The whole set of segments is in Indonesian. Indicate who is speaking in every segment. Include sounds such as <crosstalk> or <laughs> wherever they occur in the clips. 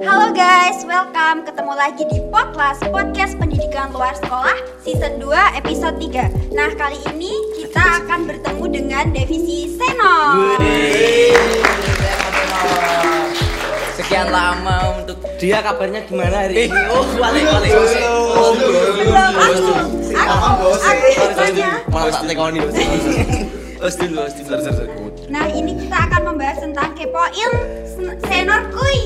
Speaker 1: Halo guys, welcome. Ketemu lagi di Podcast Podcast Pendidikan Luar Sekolah Season 2 Episode 3. Nah, kali ini kita akan bertemu dengan Devisi Seno.
Speaker 2: Sekian lama untuk
Speaker 3: Dia kabarnya gimana hari ini?
Speaker 2: Oh, balik balik.
Speaker 1: Belum aku, aku, aku semuanya.
Speaker 2: Malah tak tekoni. Os dulu, os dulu.
Speaker 1: Nah, ini kita akan membahas tentang kepoin sen- Senor Kui.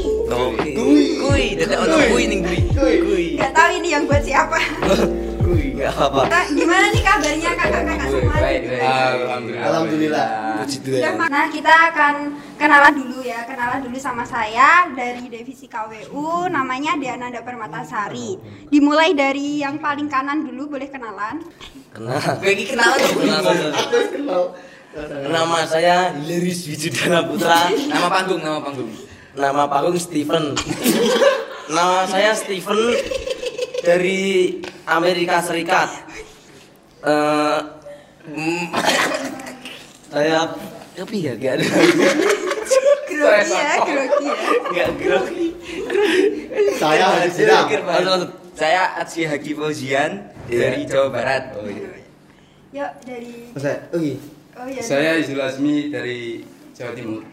Speaker 2: Kui, kui, tidak untuk kui ning kui. Kui.
Speaker 1: Gak tahu ini yang buat siapa.
Speaker 2: Enggak apa-apa.
Speaker 1: Nah, gimana nih kabarnya kakak-kakak semua?
Speaker 2: Alhamdulillah.
Speaker 3: Alhamdulillah.
Speaker 2: Iya.
Speaker 1: Udah, Ma. Nah, kita akan kenalan dulu ya. Kenalan dulu sama saya dari divisi KWU, namanya Deananda Permatasari. Dimulai dari yang paling kanan dulu, boleh kenalan.
Speaker 2: Gue iki kenalan tuh.
Speaker 3: Nama saya Liris Wijudana Putra.
Speaker 2: Nama panggung, nama panggung.
Speaker 3: Nama panggung Steven. Nama saya Steven dari Amerika Serikat. Eh, mm, saya tapi ya gak ada.
Speaker 1: Grogi ya, grogi ya.
Speaker 3: Gak grogi.
Speaker 4: Saya Haji Siram.
Speaker 2: Lanjut, lanjut. Saya Atsy Hagi Fauzian dari Jawa Barat.
Speaker 1: Yuk, dari
Speaker 4: Saya, Oke.
Speaker 1: Oh ya.
Speaker 5: Saya Izul Azmi dari Jawa Timur.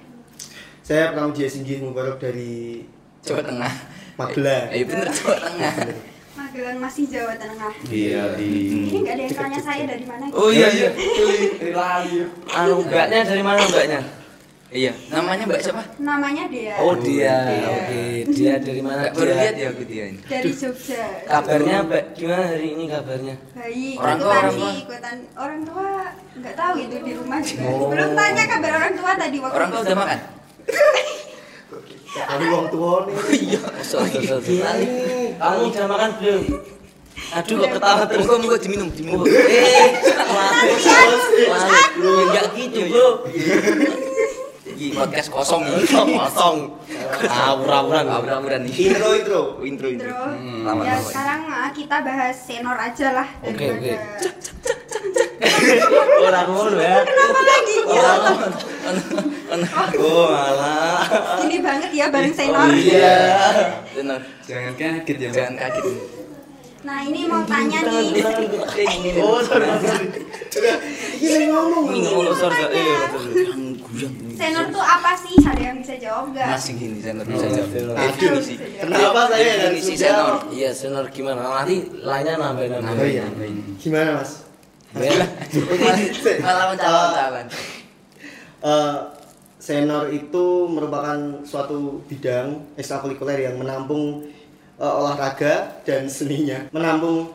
Speaker 4: Saya Pram Jaya Singgih Mubarak dari
Speaker 2: Jawa Tengah.
Speaker 4: Magelang.
Speaker 2: Eh bener Jawa Tengah.
Speaker 1: Magelang masih Jawa Tengah.
Speaker 5: Iya
Speaker 1: Ini
Speaker 5: di.
Speaker 1: nggak ada yang tanya saya dari mana.
Speaker 2: Oh iya iya.
Speaker 3: Anu mbaknya dari mana mbaknya?
Speaker 2: Iya, namanya Mbak siapa?
Speaker 1: Namanya dia.
Speaker 3: Oh dia,
Speaker 1: Dia.
Speaker 3: oke dia dari mana?
Speaker 2: Enggak baru
Speaker 3: dia?
Speaker 2: lihat ya aku dia ini.
Speaker 1: Dari Jogja.
Speaker 3: Kabarnya mbak gimana hari ini kabarnya?
Speaker 1: Baik,
Speaker 2: Orang tua,
Speaker 1: ikutan
Speaker 2: orang
Speaker 1: sih,
Speaker 2: tua.
Speaker 1: ikutan orang tua nggak tahu itu di rumah juga. Belum tanya kabar orang tua tadi waktu
Speaker 2: Oh. Orang tua udah makan?
Speaker 4: Tapi wong tua nih.
Speaker 2: Iya.
Speaker 3: Lali, kamu udah makan belum? Aduh kok ketawa terus
Speaker 2: Muka muka diminum, diminum.
Speaker 3: Eh, Bro, enggak gitu bro
Speaker 2: Ini podcast kosong ini.
Speaker 3: Kosong Awur-awuran
Speaker 2: Abram-abram nih.
Speaker 4: Intro intro.
Speaker 2: Intro intro.
Speaker 1: Intro.
Speaker 2: lama,
Speaker 1: ya
Speaker 2: lama.
Speaker 1: sekarang ah, kita bahas senor aja lah
Speaker 3: Oke,
Speaker 1: daripada-
Speaker 3: oke. Orang ngono ya
Speaker 1: Kenapa lagi Ya, gila?
Speaker 3: Oh malah
Speaker 1: Ini banget ya bareng senor.
Speaker 3: iya.
Speaker 2: Tenor.
Speaker 5: Jangan kaget ya.
Speaker 2: Jangan kaget.
Speaker 1: Nah ini mau tanya nih.
Speaker 3: Oh sorry
Speaker 4: Gila ngomong.
Speaker 3: Ngomong sorry sorry. Iya, sorry.
Speaker 1: Senor tuh apa sih? Ada yang bisa jawab nggak?
Speaker 2: Masih gini tenor bisa jawab.
Speaker 3: tenor.
Speaker 2: Eh, Definisi.
Speaker 4: Kenapa saya dari
Speaker 2: Definisi
Speaker 4: Sunda?
Speaker 2: tenor.
Speaker 3: Iya senor gimana nanti lainnya nambahin
Speaker 4: Oh
Speaker 3: nambahin
Speaker 4: iya. Gimana mas?
Speaker 3: Bella.
Speaker 2: Iya. Malah mencalon-calon.
Speaker 4: Eh, Senor itu merupakan suatu bidang ekstrakurikuler yang menampung eh, olahraga dan seninya, menampung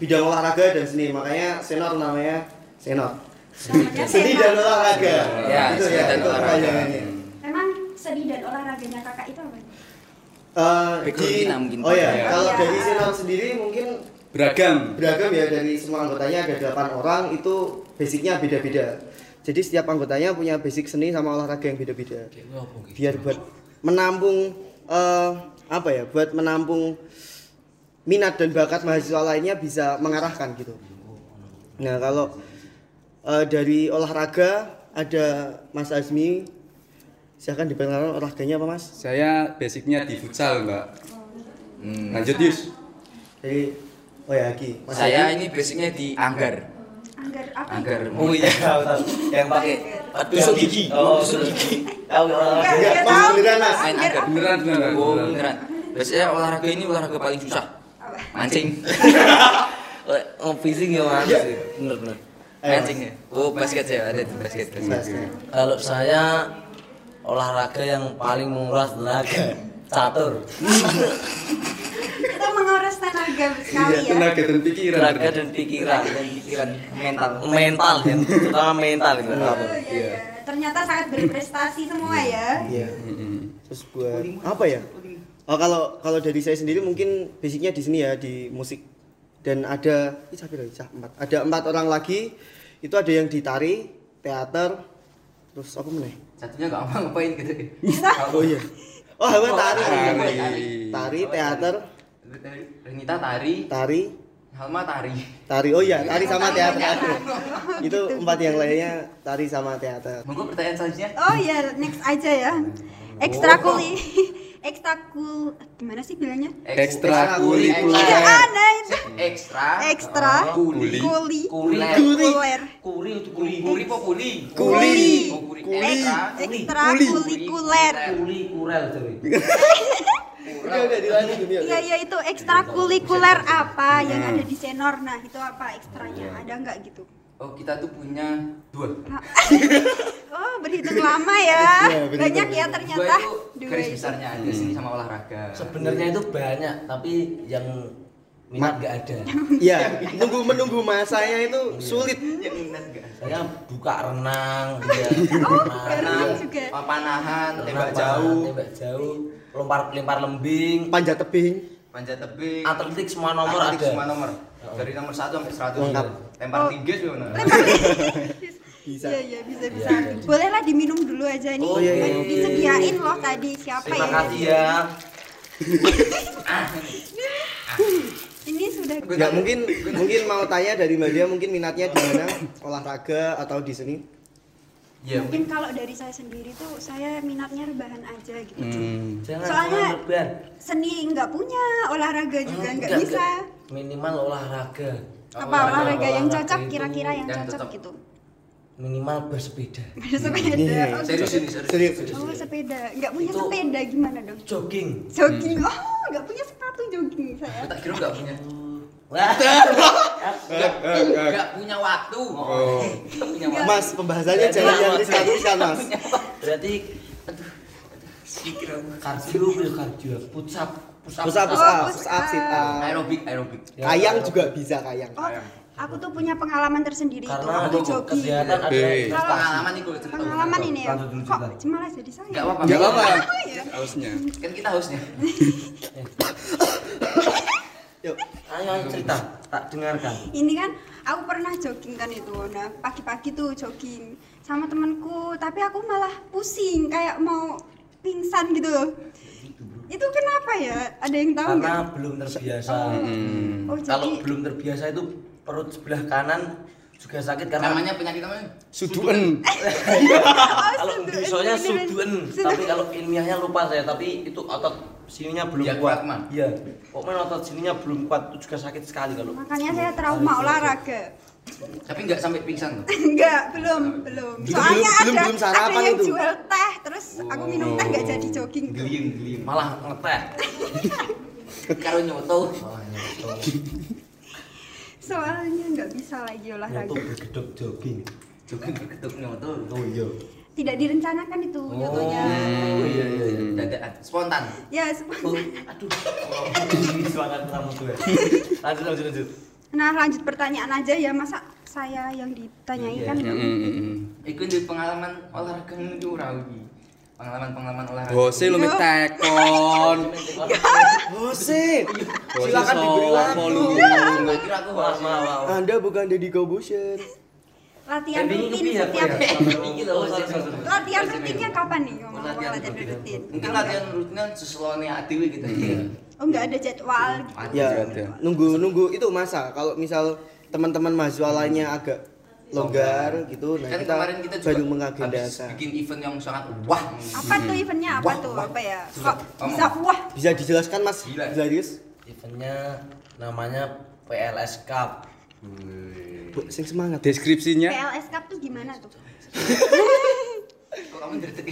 Speaker 4: bidang olahraga dan seni. Makanya senor namanya senor.
Speaker 1: Namanya
Speaker 4: Seni dan
Speaker 1: senor.
Speaker 4: olahraga.
Speaker 2: Ya,
Speaker 4: itu
Speaker 2: seni
Speaker 4: ya,
Speaker 2: dan
Speaker 4: itu
Speaker 2: olahraga.
Speaker 4: pertanyaannya.
Speaker 1: Emang sedih dan olahraganya kakak itu apa?
Speaker 4: Eh,
Speaker 2: Background
Speaker 4: di-
Speaker 2: kita mungkin.
Speaker 4: Oh ya,
Speaker 5: Iya.
Speaker 4: kalau
Speaker 1: Iya.
Speaker 4: dari senor sendiri mungkin
Speaker 5: Beragam.
Speaker 4: beragam ya dari semua anggotanya ada 8 orang itu basicnya beda-beda. Jadi setiap anggotanya punya basic seni sama olahraga yang beda-beda. Biar buat menampung eh, apa ya? Buat menampung minat dan bakat mahasiswa lainnya bisa mengarahkan gitu. Nah, kalau eh, dari olahraga ada Mas Azmi. Silahkan diperkenalkan olahraganya apa, Mas?
Speaker 5: Saya basicnya di futsal mbak.
Speaker 2: Hmm.
Speaker 5: Lanjut Yus.
Speaker 4: Dari Oh ya, Aki. Mas
Speaker 2: Saya
Speaker 4: Aki.
Speaker 2: ini basicnya di anggar.
Speaker 1: Anggar apa?
Speaker 2: Anggar.
Speaker 3: Oh iya tahu tahu. Yang pakai
Speaker 2: Tusuk gigi.
Speaker 3: Oh,
Speaker 2: Tusuk gigi.
Speaker 3: <laughs> tahu tahu.
Speaker 1: Nggak,
Speaker 4: Enggak,
Speaker 1: nggak
Speaker 4: Mas,
Speaker 1: tahu.
Speaker 4: beneran, Mas.
Speaker 2: Main anggar.
Speaker 5: Beneran beneran.
Speaker 2: Oh,
Speaker 5: beneran.
Speaker 2: beneran. Biasanya olahraga ini olahraga paling susah.
Speaker 1: Apa?
Speaker 2: Mancing.
Speaker 3: Ngopi sih gimana sih? ya, Bener bener.
Speaker 2: Mancing ya. Oh, basket saya ada di basket. basket.
Speaker 4: Mas.
Speaker 3: Kalau saya olahraga yang paling menguras tenaga <laughs> catur
Speaker 1: Kita menguras tenaga
Speaker 5: Iya
Speaker 1: sekali ya.
Speaker 5: tenaga dan pikiran.
Speaker 3: tenaga
Speaker 5: beneran.
Speaker 3: dan pikiran
Speaker 2: Dan pikiran mental.
Speaker 3: mental ya <laughs> terutama mental itu
Speaker 1: Oh, iya, iya. Ternyata sangat berprestasi semua ya.
Speaker 4: Iya. Terus buat apa ya? Oh, kalau kalau dari saya sendiri mungkin basicnya di sini ya di musik dan ada ih, capek lagi, cah, empat. Ada empat orang lagi. Itu ada yang di tari, teater, terus apa meneh?
Speaker 2: <laughs> Satunya enggak apa ngapain gitu.
Speaker 4: Oh iya. Oh, apa tari.
Speaker 5: tari.
Speaker 4: Tari, teater,
Speaker 2: Renita tari,
Speaker 4: tari,
Speaker 2: Halma tari.
Speaker 4: tari. Oh iya, tari sama teater. <laughs> Ada. Itu empat yang lainnya tari sama
Speaker 1: iya,
Speaker 4: teater.
Speaker 2: Monggo pertanyaan selanjutnya.
Speaker 1: Oh ya, next aja ya. Ekstra kuli. <laughs> ekstrakul gimana sih bilangnya?
Speaker 5: Ekstrakurikuler.
Speaker 1: Iya, ada itu.
Speaker 2: Ekstra. Oh,
Speaker 1: Ekstra
Speaker 5: Kuli.
Speaker 1: kuli
Speaker 2: Kuler.
Speaker 1: kuler
Speaker 2: Kuri untuk kuli. Kuri populi.
Speaker 1: Kuli.
Speaker 2: Kuli.
Speaker 1: ekstra kulikuler.
Speaker 2: Kuli kurel jadi.
Speaker 4: Udah udah dilanjut dunia.
Speaker 1: Iya iya itu ekstra kulikuler apa yang
Speaker 4: Iya.
Speaker 1: ada di senor? Nah itu apa ekstranya? Ada nggak gitu?
Speaker 6: Oh kita tuh punya dua.
Speaker 1: Oh berhitung lama ya,
Speaker 4: Iya, berhitung,
Speaker 1: banyak ya
Speaker 4: berhitung.
Speaker 6: Dua
Speaker 1: ternyata.
Speaker 6: itu garis besarnya ada seni sama olahraga.
Speaker 3: Sebenarnya itu banyak, tapi yang minat nggak ada.
Speaker 4: Iya, nunggu menunggu masanya itu sulit.
Speaker 6: Yang minat nggak?
Speaker 3: Saya buka renang, gitu ya.
Speaker 1: Oh
Speaker 3: renang,
Speaker 1: berenang juga.
Speaker 6: Panahan, tembak
Speaker 3: renang,
Speaker 6: jauh,
Speaker 3: tembak jauh, lempar lempar lembing,
Speaker 4: Panjat tebing.
Speaker 6: panjat tebing,
Speaker 3: atletik semua nomor
Speaker 6: atletik
Speaker 3: ada.
Speaker 6: semua nomor. Dari nomor 1 sampai 100
Speaker 4: Lengkap.
Speaker 6: Lempar
Speaker 1: Oh.
Speaker 6: tinggi sih bener.
Speaker 4: Bisa.
Speaker 1: Iya iya bisa bisa. Bolehlah diminum dulu aja nih.
Speaker 3: Oh, iya, iya.
Speaker 1: Disediain loh tadi siapa ya?
Speaker 3: Terima kasih ya.
Speaker 1: Ini sudah
Speaker 4: Nggak mungkin mungkin mau tanya dari Mbak Dia mungkin minatnya di mana? Olahraga atau di seni?
Speaker 6: Iya.
Speaker 1: mungkin kalau dari saya sendiri tuh saya minatnya rebahan aja gitu.
Speaker 5: Hmm.
Speaker 3: Jangan
Speaker 1: Soalnya-
Speaker 3: cuma lebar.
Speaker 1: Seni nggak punya, olahraga juga
Speaker 3: Hmm,
Speaker 1: nggak
Speaker 3: nggak,
Speaker 1: bisa.
Speaker 3: nggak. Minimal olahraga.
Speaker 1: Apa olahraga yang cocok
Speaker 3: itu
Speaker 1: kira-kira yang
Speaker 6: yang
Speaker 1: cocok
Speaker 6: cocok.
Speaker 1: gitu. <laughs>
Speaker 3: Minimal bersepeda.
Speaker 1: sepeda.
Speaker 4: Iya.
Speaker 1: oh,
Speaker 6: Serius ini,
Speaker 4: Serius.
Speaker 6: serius.
Speaker 1: Oh, sepeda. Nggak punya
Speaker 3: Itu-
Speaker 1: sepeda gimana dong?
Speaker 3: Jogging.
Speaker 1: Jogging. Oh, nggak punya sepatu jogging saya.
Speaker 6: Gue
Speaker 2: <laughs>
Speaker 6: tak kira nggak punya.
Speaker 3: Wah.
Speaker 2: Gak punya waktu.
Speaker 6: <laughs>
Speaker 5: Oh.
Speaker 2: Gak punya waktu.
Speaker 4: Mas, pembahasannya jangan yang riskan-riskan, Mas.
Speaker 3: Berarti kardio bel kardio push up push up.
Speaker 4: Push up,
Speaker 1: Oh,
Speaker 4: push up,
Speaker 1: push
Speaker 4: push up, sit
Speaker 1: up.
Speaker 4: up.
Speaker 6: Aerobik, aerobik.
Speaker 3: Ya,
Speaker 4: Kayang juga bisa kayang.
Speaker 1: Oh, aku tuh punya pengalaman tersendiri itu
Speaker 3: Karena
Speaker 1: waktu jogging.
Speaker 3: kesehatan ada
Speaker 5: Hei.
Speaker 1: Kalau
Speaker 6: Pengalaman nih gue cerita.
Speaker 1: pengalaman ini ya.
Speaker 3: Lanjut dulu
Speaker 1: Kok
Speaker 3: cerita.
Speaker 1: malah jadi saya?
Speaker 6: Nggak apa-apa.
Speaker 5: Enggak apa-apa.
Speaker 1: <laughs> Oh, iya.
Speaker 5: Hausnya.
Speaker 6: Kan kita hausnya.
Speaker 4: Yuk.
Speaker 3: Eh, Ayo ayo cerita, tak dengarkan.
Speaker 1: Ini kan aku pernah jogging kan itu. Nah, pagi-pagi tuh jogging sama temanku, tapi aku malah pusing kayak mau pingsan gitu loh. Itu kenapa ya? Ada yang tahu
Speaker 3: Karena
Speaker 1: nggak?
Speaker 3: belum terbiasa.
Speaker 5: Hmm.
Speaker 1: Oh, jadi
Speaker 3: Kalau <laughs> belum terbiasa itu perut sebelah kanan juga sakit karena
Speaker 6: Namanya penyakit namanya.
Speaker 1: Oh,
Speaker 5: Suduen.
Speaker 3: kalau
Speaker 1: suduen,
Speaker 3: biasanya
Speaker 1: beneran.
Speaker 3: suduen,
Speaker 1: Suduen.
Speaker 3: tapi kalau ilmiahnya lupa saya, tapi itu otot sininya belum
Speaker 6: Ya,
Speaker 3: kuat.
Speaker 6: kuat, Man.
Speaker 3: Iya. Pokoknya otot sininya belum kuat, itu juga sakit sekali kalau.
Speaker 1: Makanya saya trauma olahraga. <laughs>
Speaker 6: Tapi nggak sampai pingsan loh.
Speaker 1: Enggak, belum, belum.
Speaker 4: Belum,
Speaker 1: Soalnya
Speaker 4: belum,
Speaker 1: ada
Speaker 4: belum sarapan
Speaker 1: ada yang
Speaker 4: itu.
Speaker 1: jual teh, terus aku minum teh nggak jadi jogging. tuh.
Speaker 6: Geliem, geliem.
Speaker 3: Malah ngeteh.
Speaker 6: Karo nyoto.
Speaker 1: Soalnya nggak bisa lagi
Speaker 3: Itu
Speaker 1: olahraga.
Speaker 3: bergedok jogging.
Speaker 6: Jogging berketuk nyoto.
Speaker 3: Oh iya.
Speaker 1: Tidak direncanakan itu
Speaker 6: ya.
Speaker 1: nyotonya.
Speaker 3: Oh iya iya iya.
Speaker 6: Dadaan. Spontan.
Speaker 1: Ya, semua.
Speaker 3: Oh, aduh. Ini semangat kamu gue. Lanjut lanjut lanjut.
Speaker 1: Nah, lanjut pertanyaan aja ya, masa saya yang ditanyain kan?
Speaker 5: Hmm, hmm, hmm.
Speaker 6: Iku di pengalaman olahraga menuju urawi. Pengalaman-pengalaman olahraga. Iya,
Speaker 5: Bose lu mik tekon.
Speaker 4: Oh, Jose,
Speaker 5: Bose
Speaker 4: silakan diberi
Speaker 5: sopo
Speaker 4: waktu.
Speaker 5: lu.
Speaker 6: Gak iya. kira aku
Speaker 3: Wah wah wah. wah.
Speaker 4: Anda bukan Deddy Corbuzier.
Speaker 1: Latihan
Speaker 3: Eh,
Speaker 1: rutin
Speaker 3: bingi,
Speaker 1: setiap
Speaker 3: bingi, ya.
Speaker 6: <laughs>
Speaker 3: Bingi, loh. Sorry, sorry, sorry.
Speaker 1: <laughs> Latihan rutinnya kapan nih? Ngomong latihan rutin.
Speaker 6: Mungkin latihan rutinnya seselone adewe gitu.
Speaker 4: Iya.
Speaker 1: Oh, nggak ada jadwal gitu.
Speaker 4: Ya,
Speaker 5: Iya.
Speaker 4: nunggu nunggu itu masa kalau misal teman-teman mahasiswa lainnya agak longgar gitu nah
Speaker 6: Kan
Speaker 4: kita,
Speaker 6: kemarin kita juga
Speaker 4: baru
Speaker 6: habis
Speaker 4: mengagendakan.
Speaker 6: bikin event yang sangat wah.
Speaker 1: Apa tuh eventnya? Apa
Speaker 6: Wah,
Speaker 1: tuh?
Speaker 6: wah.
Speaker 1: Apa ya?
Speaker 6: Susah.
Speaker 1: Kok bisa wah?
Speaker 4: Bisa dijelaskan Mas
Speaker 6: Gila.
Speaker 4: Hilarius?
Speaker 3: Eventnya namanya PLS Cup.
Speaker 4: Bu, sing semangat.
Speaker 5: Deskripsinya
Speaker 1: PLS Cup tuh gimana tuh?
Speaker 6: Kok kamu ngerti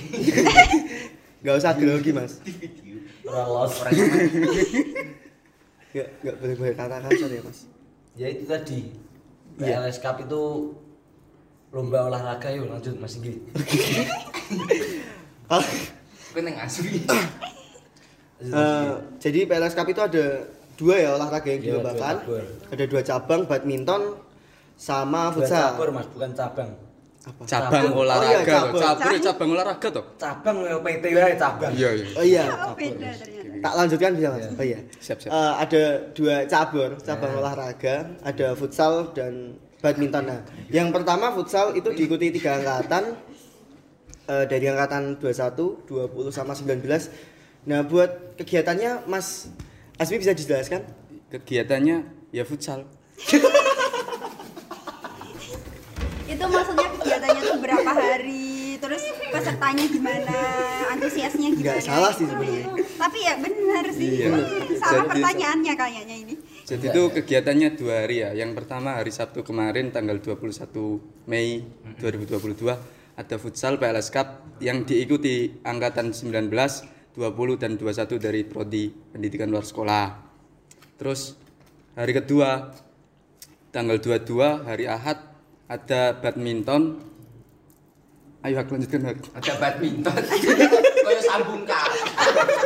Speaker 4: <laughs> Gak usah grogi Mas.
Speaker 6: di video?
Speaker 3: Lolos.
Speaker 6: Orang yang main.
Speaker 4: Gak gak boleh boleh kata kasar ya Mas.
Speaker 3: Ya itu tadi.
Speaker 4: Iya.
Speaker 3: PLS Cup itu lomba olahraga yuk lanjut Mas Inggi.
Speaker 4: Kalau,
Speaker 6: Gue neng asli.
Speaker 3: Lanjut, Mas
Speaker 4: eh,
Speaker 3: Inggi.
Speaker 4: jadi PLS Cup itu ada dua ya olahraga yang
Speaker 3: Iya, dua
Speaker 4: dilombakan.
Speaker 3: cabur.
Speaker 4: Ada dua cabang badminton sama
Speaker 3: Bukan
Speaker 4: futsal.
Speaker 3: cabur Mas, bukan cabang.
Speaker 4: Apa?
Speaker 5: cabang
Speaker 3: Oh,
Speaker 4: iya,
Speaker 5: olahraga
Speaker 4: cabang.
Speaker 5: loh. Cabur ya, cabang olahraga toh.
Speaker 3: Cabang ya PT wae cabang.
Speaker 5: Iya iya.
Speaker 4: Oh iya.
Speaker 1: Oh, beda ternyata.
Speaker 4: Tak lanjutkan bisa mas. Oh iya.
Speaker 5: Siap, siap.
Speaker 4: Eh, ada dua cabur, cabang
Speaker 3: Nah.
Speaker 4: olahraga, ada futsal dan badminton. Nah, yang pertama futsal itu diikuti tiga angkatan eh, dari angkatan 21, 20 sama 19. Nah, buat kegiatannya Mas Asmi bisa dijelaskan?
Speaker 5: Kegiatannya ya futsal.
Speaker 1: Itu maksudnya kegiatannya tuh berapa hari? terus pesertanya gimana, antusiasnya gimana.
Speaker 4: Nggak salah sih
Speaker 1: gitu.
Speaker 4: sebenarnya.
Speaker 1: Tapi ya benar sih.
Speaker 5: Iya.
Speaker 1: Hmm, Salah
Speaker 5: Jadi-
Speaker 1: pertanyaannya kayaknya ini.
Speaker 5: Jadi itu kegiatannya dua hari ya. Yang pertama hari Sabtu kemarin tanggal 21 Mei 2022 ada futsal PLS Cup yang diikuti angkatan 19, 20 dan 21 dari prodi pendidikan luar sekolah. Terus hari kedua tanggal 22 hari Ahad ada badminton. Ayo Hak, lanjutkan Hak.
Speaker 2: Ada badminton. Kayak sambung kak.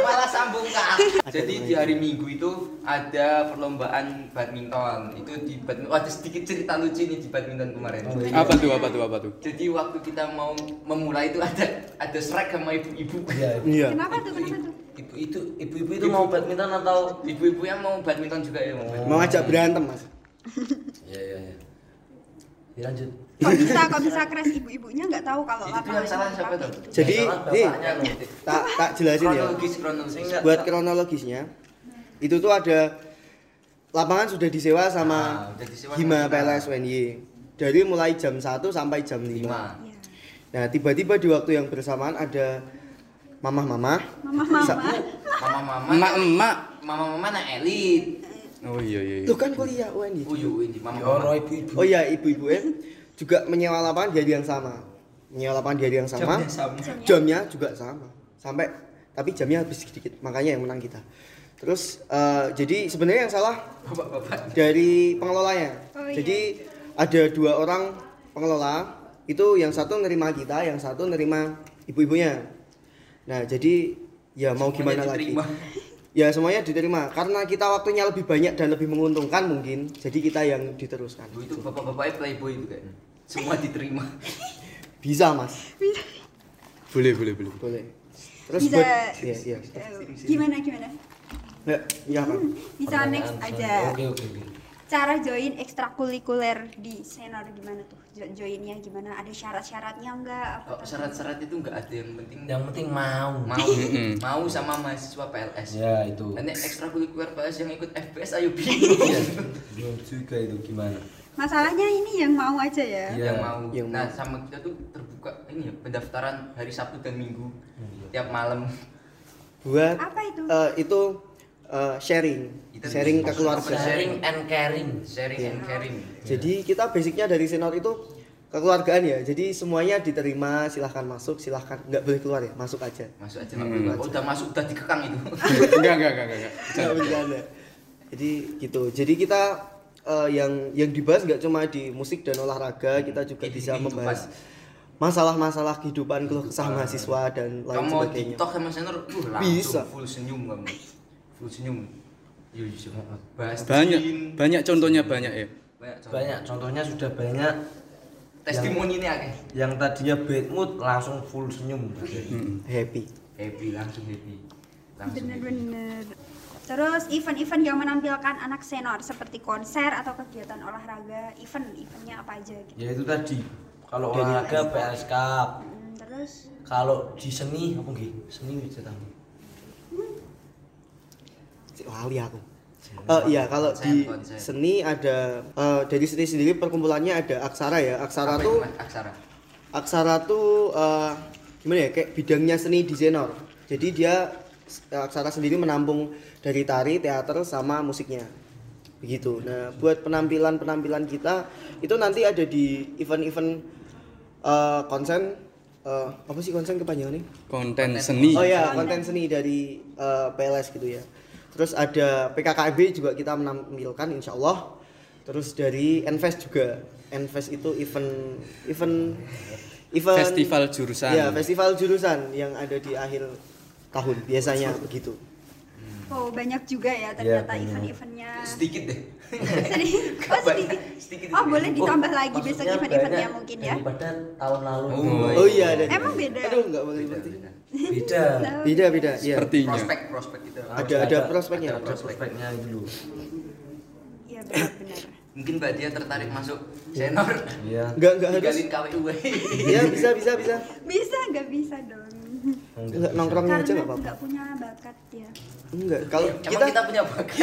Speaker 2: Malah sambung kak.
Speaker 4: Ada
Speaker 2: Jadi di hari Minggu itu ada perlombaan badminton. Itu di badminton. Oh, ada sedikit cerita lucu nih di badminton kemarin.
Speaker 5: Apa tuh apa tuh apa tuh?
Speaker 2: Jadi waktu kita mau memulai itu ada ada srek sama ibu-ibu.
Speaker 4: Iya.
Speaker 1: Kenapa tuh? Kenapa tuh?
Speaker 2: Ibu itu
Speaker 3: Ibu-ibu itu mau badminton atau
Speaker 2: ibu-ibu yang mau badminton juga ya mau. badminton.
Speaker 4: Mau ngajak berantem, Mas.
Speaker 3: Iya iya iya. Dilanjut.
Speaker 1: Kok bisa kok bisa crash ibu-ibunya nggak tahu kalau
Speaker 2: Itu yang salah siapa tuh?
Speaker 4: Jadi,
Speaker 3: Iya, Salah
Speaker 4: nih,
Speaker 3: bapaknya loh.
Speaker 4: tak tak jelasin ya.
Speaker 2: Kronologis kronologis.
Speaker 4: Buat kronologisnya, itu tuh ada lapangan sudah disewa sama
Speaker 2: Ah, udah disewa sama
Speaker 4: Hima
Speaker 2: kita.
Speaker 4: PLS UNY. Dari mulai jam 1 sampai jam 5.
Speaker 2: Lima.
Speaker 1: Iya.
Speaker 4: Nah, tiba-tiba di waktu yang bersamaan ada mamah-mamah.
Speaker 1: Mama-mama.
Speaker 4: Sa-
Speaker 2: Mama-mama.
Speaker 5: Emak-emak.
Speaker 2: Mama-mama anak elit.
Speaker 5: Oh iya iya. iya.
Speaker 4: Tuh kan kuliah UNY.
Speaker 2: Uyu ini mama-mama.
Speaker 3: Yoro ibu-ibu.
Speaker 4: Oh iya, ibu-ibu ya juga menyewa lapangan di hari yang sama. Menyewa lapangan di hari yang sama.
Speaker 2: Jamnya sama.
Speaker 4: Jamnya juga sama. Sampai tapi jamnya habis sedikit. Makanya yang menang kita. Terus eh, jadi sebenarnya yang salah
Speaker 2: Bapak-bapak.
Speaker 4: dari pengelolanya.
Speaker 1: Oh, iya.
Speaker 4: Jadi ada dua orang pengelola, itu yang satu nerima kita, yang satu nerima ibu-ibunya. Nah, jadi ya mau
Speaker 2: Semuanya
Speaker 4: gimana
Speaker 2: diterima.
Speaker 4: lagi? <laughs> Ya semuanya diterima karena kita waktunya lebih banyak dan lebih menguntungkan mungkin. Jadi kita yang diteruskan.
Speaker 2: Bu, Itu bapak-bapaknya playboy itu kayaknya. Semua diterima.
Speaker 4: Bisa, Mas.
Speaker 5: Boleh boleh boleh.
Speaker 4: Boleh. Terus
Speaker 1: Bisa.
Speaker 4: buat iya, iya.
Speaker 1: Eh, Gimana gimana?
Speaker 4: Ya, iya, Pak.
Speaker 1: Bisa next
Speaker 3: Pertanyaan,
Speaker 1: aja.
Speaker 3: sorry. Oke oke oke.
Speaker 1: Cara join ekstrakurikuler di Senor gimana tuh? Jo- Joinnya gimana? Ada syarat-syaratnya nggak? Apa
Speaker 2: Oh, syarat-syarat itu nggak ada yang penting.
Speaker 3: Yang penting mau.
Speaker 2: Mau mau sama mahasiswa PLS.
Speaker 3: Ya itu.
Speaker 2: Nanti ekstrakurikuler PLS yang ikut FPS
Speaker 3: <laughs> Iya.
Speaker 2: ayo bingung.
Speaker 3: Belum juga itu gimana?
Speaker 1: Masalahnya ini yang mau aja ya.
Speaker 3: Iya.
Speaker 2: yang mau.
Speaker 4: Yang
Speaker 2: nah,
Speaker 4: mau.
Speaker 2: sama kita tuh terbuka ini ya pendaftaran hari Sabtu dan Minggu
Speaker 3: Iya.
Speaker 2: tiap malam.
Speaker 4: Buat
Speaker 1: Apa itu?
Speaker 4: eh, itu eh, sharing.
Speaker 2: Itu
Speaker 4: sharing ke keluarga. Iya.
Speaker 3: Sharing and caring.
Speaker 2: Sharing and caring.
Speaker 4: Jadi kita basicnya dari senior itu kekeluargaan ya. Jadi semuanya diterima, silahkan masuk, silahkan nggak boleh keluar ya, masuk aja.
Speaker 2: Masuk aja nggak apa-apa. Oh, udah masuk udah dikekang itu.
Speaker 5: Enggak enggak enggak enggak.
Speaker 4: Nggak bercanda. Jadi gitu. Jadi kita eh, yang yang dibahas nggak cuma di musik dan olahraga, kita juga
Speaker 2: Ini-
Speaker 4: bisa
Speaker 2: ini
Speaker 4: membahas masalah-masalah kehidupan keluh kesah mahasiswa dan
Speaker 2: <laughs>
Speaker 4: lain
Speaker 2: kamu mau
Speaker 4: sebagainya.
Speaker 2: TikTok sama senior, uh, langsung
Speaker 4: Bisa.
Speaker 2: full senyum kamu. Full senyum. Yo yo. Bahas
Speaker 5: Banyak
Speaker 2: jin.
Speaker 5: banyak contohnya banyak ya.
Speaker 2: Banyak. contoh.
Speaker 3: Banyak contohnya sudah banyak
Speaker 2: Testimoni ini akeh.
Speaker 3: yang tadinya bad mood langsung full senyum.
Speaker 4: Happy.
Speaker 2: Happy langsung happy. Eh, Langsung. gitu. happy.
Speaker 1: Bener-bener. Terus event-event yang menampilkan anak Senor seperti konser atau kegiatan olahraga, event-eventnya apa aja gitu.
Speaker 3: Ya itu tadi. Kalau olahraga PLS Cup.
Speaker 1: Hmm, terus
Speaker 3: Kalau di seni apa nggih? Seni wis tahu.
Speaker 4: Cik, Wali aku. Eh, iya kalau di
Speaker 2: Konsep, konsep.
Speaker 4: seni ada eh, dari seni sendiri perkumpulannya ada aksara ya. Aksara
Speaker 2: Apa itu,
Speaker 4: tuh
Speaker 2: Mas? aksara.
Speaker 4: aksara tuh eh, gimana ya kayak bidangnya seni di Zenor jadi dia eh, aksara sendiri menampung dari tari teater sama musiknya begitu nah buat penampilan penampilan kita itu nanti ada di event-event eh, konsen eh, apa sih konsen kepanjangannya
Speaker 5: Konten seni.
Speaker 4: oh ya konten seni dari eh, PLS gitu ya terus ada PKKB juga kita menampilkan insya Allah terus dari Enfest juga Enfest itu event event event
Speaker 5: Festival jurusan.
Speaker 4: ya festival jurusan yang ada di akhir tahun biasanya begitu
Speaker 1: oh banyak juga ya
Speaker 3: Iya,
Speaker 1: ternyata
Speaker 3: banyak.
Speaker 1: event-eventnya.
Speaker 2: Sedikit deh.
Speaker 1: <laughs>
Speaker 3: <laughs>
Speaker 1: Sedih. Oh, sedikit.
Speaker 2: Sedikit.
Speaker 1: Oh, boleh
Speaker 2: Oh,
Speaker 1: ditambah lagi besok
Speaker 3: Maksudnya
Speaker 1: event-eventnya
Speaker 3: banyak
Speaker 1: mungkin ya.
Speaker 3: Daripada tahun lalu. Gitu.
Speaker 2: Oh,
Speaker 4: oh iya ada
Speaker 1: Emang beda?
Speaker 4: aduh nggak boleh berarti
Speaker 3: Beda.
Speaker 4: beda beda iya
Speaker 5: Sepertinya.
Speaker 2: Prospek-prospek itu.
Speaker 4: ada ada prospeknya
Speaker 3: Ada prospeknya itu loh.
Speaker 1: Iya, benar-benar.
Speaker 2: Mungkin Mbak Dia tertarik masuk senor.
Speaker 3: Iya.
Speaker 4: nggak nggak harus
Speaker 2: Tinggalin KWU.
Speaker 4: ya bisa bisa bisa
Speaker 1: Bisa nggak bisa dong?
Speaker 4: nggak nongkrongnya aja
Speaker 1: Karena
Speaker 4: nggak apa-apa
Speaker 1: nggak punya bakat ya.
Speaker 4: nggak kalau
Speaker 2: Emang
Speaker 4: kita
Speaker 2: kita, punya bakat.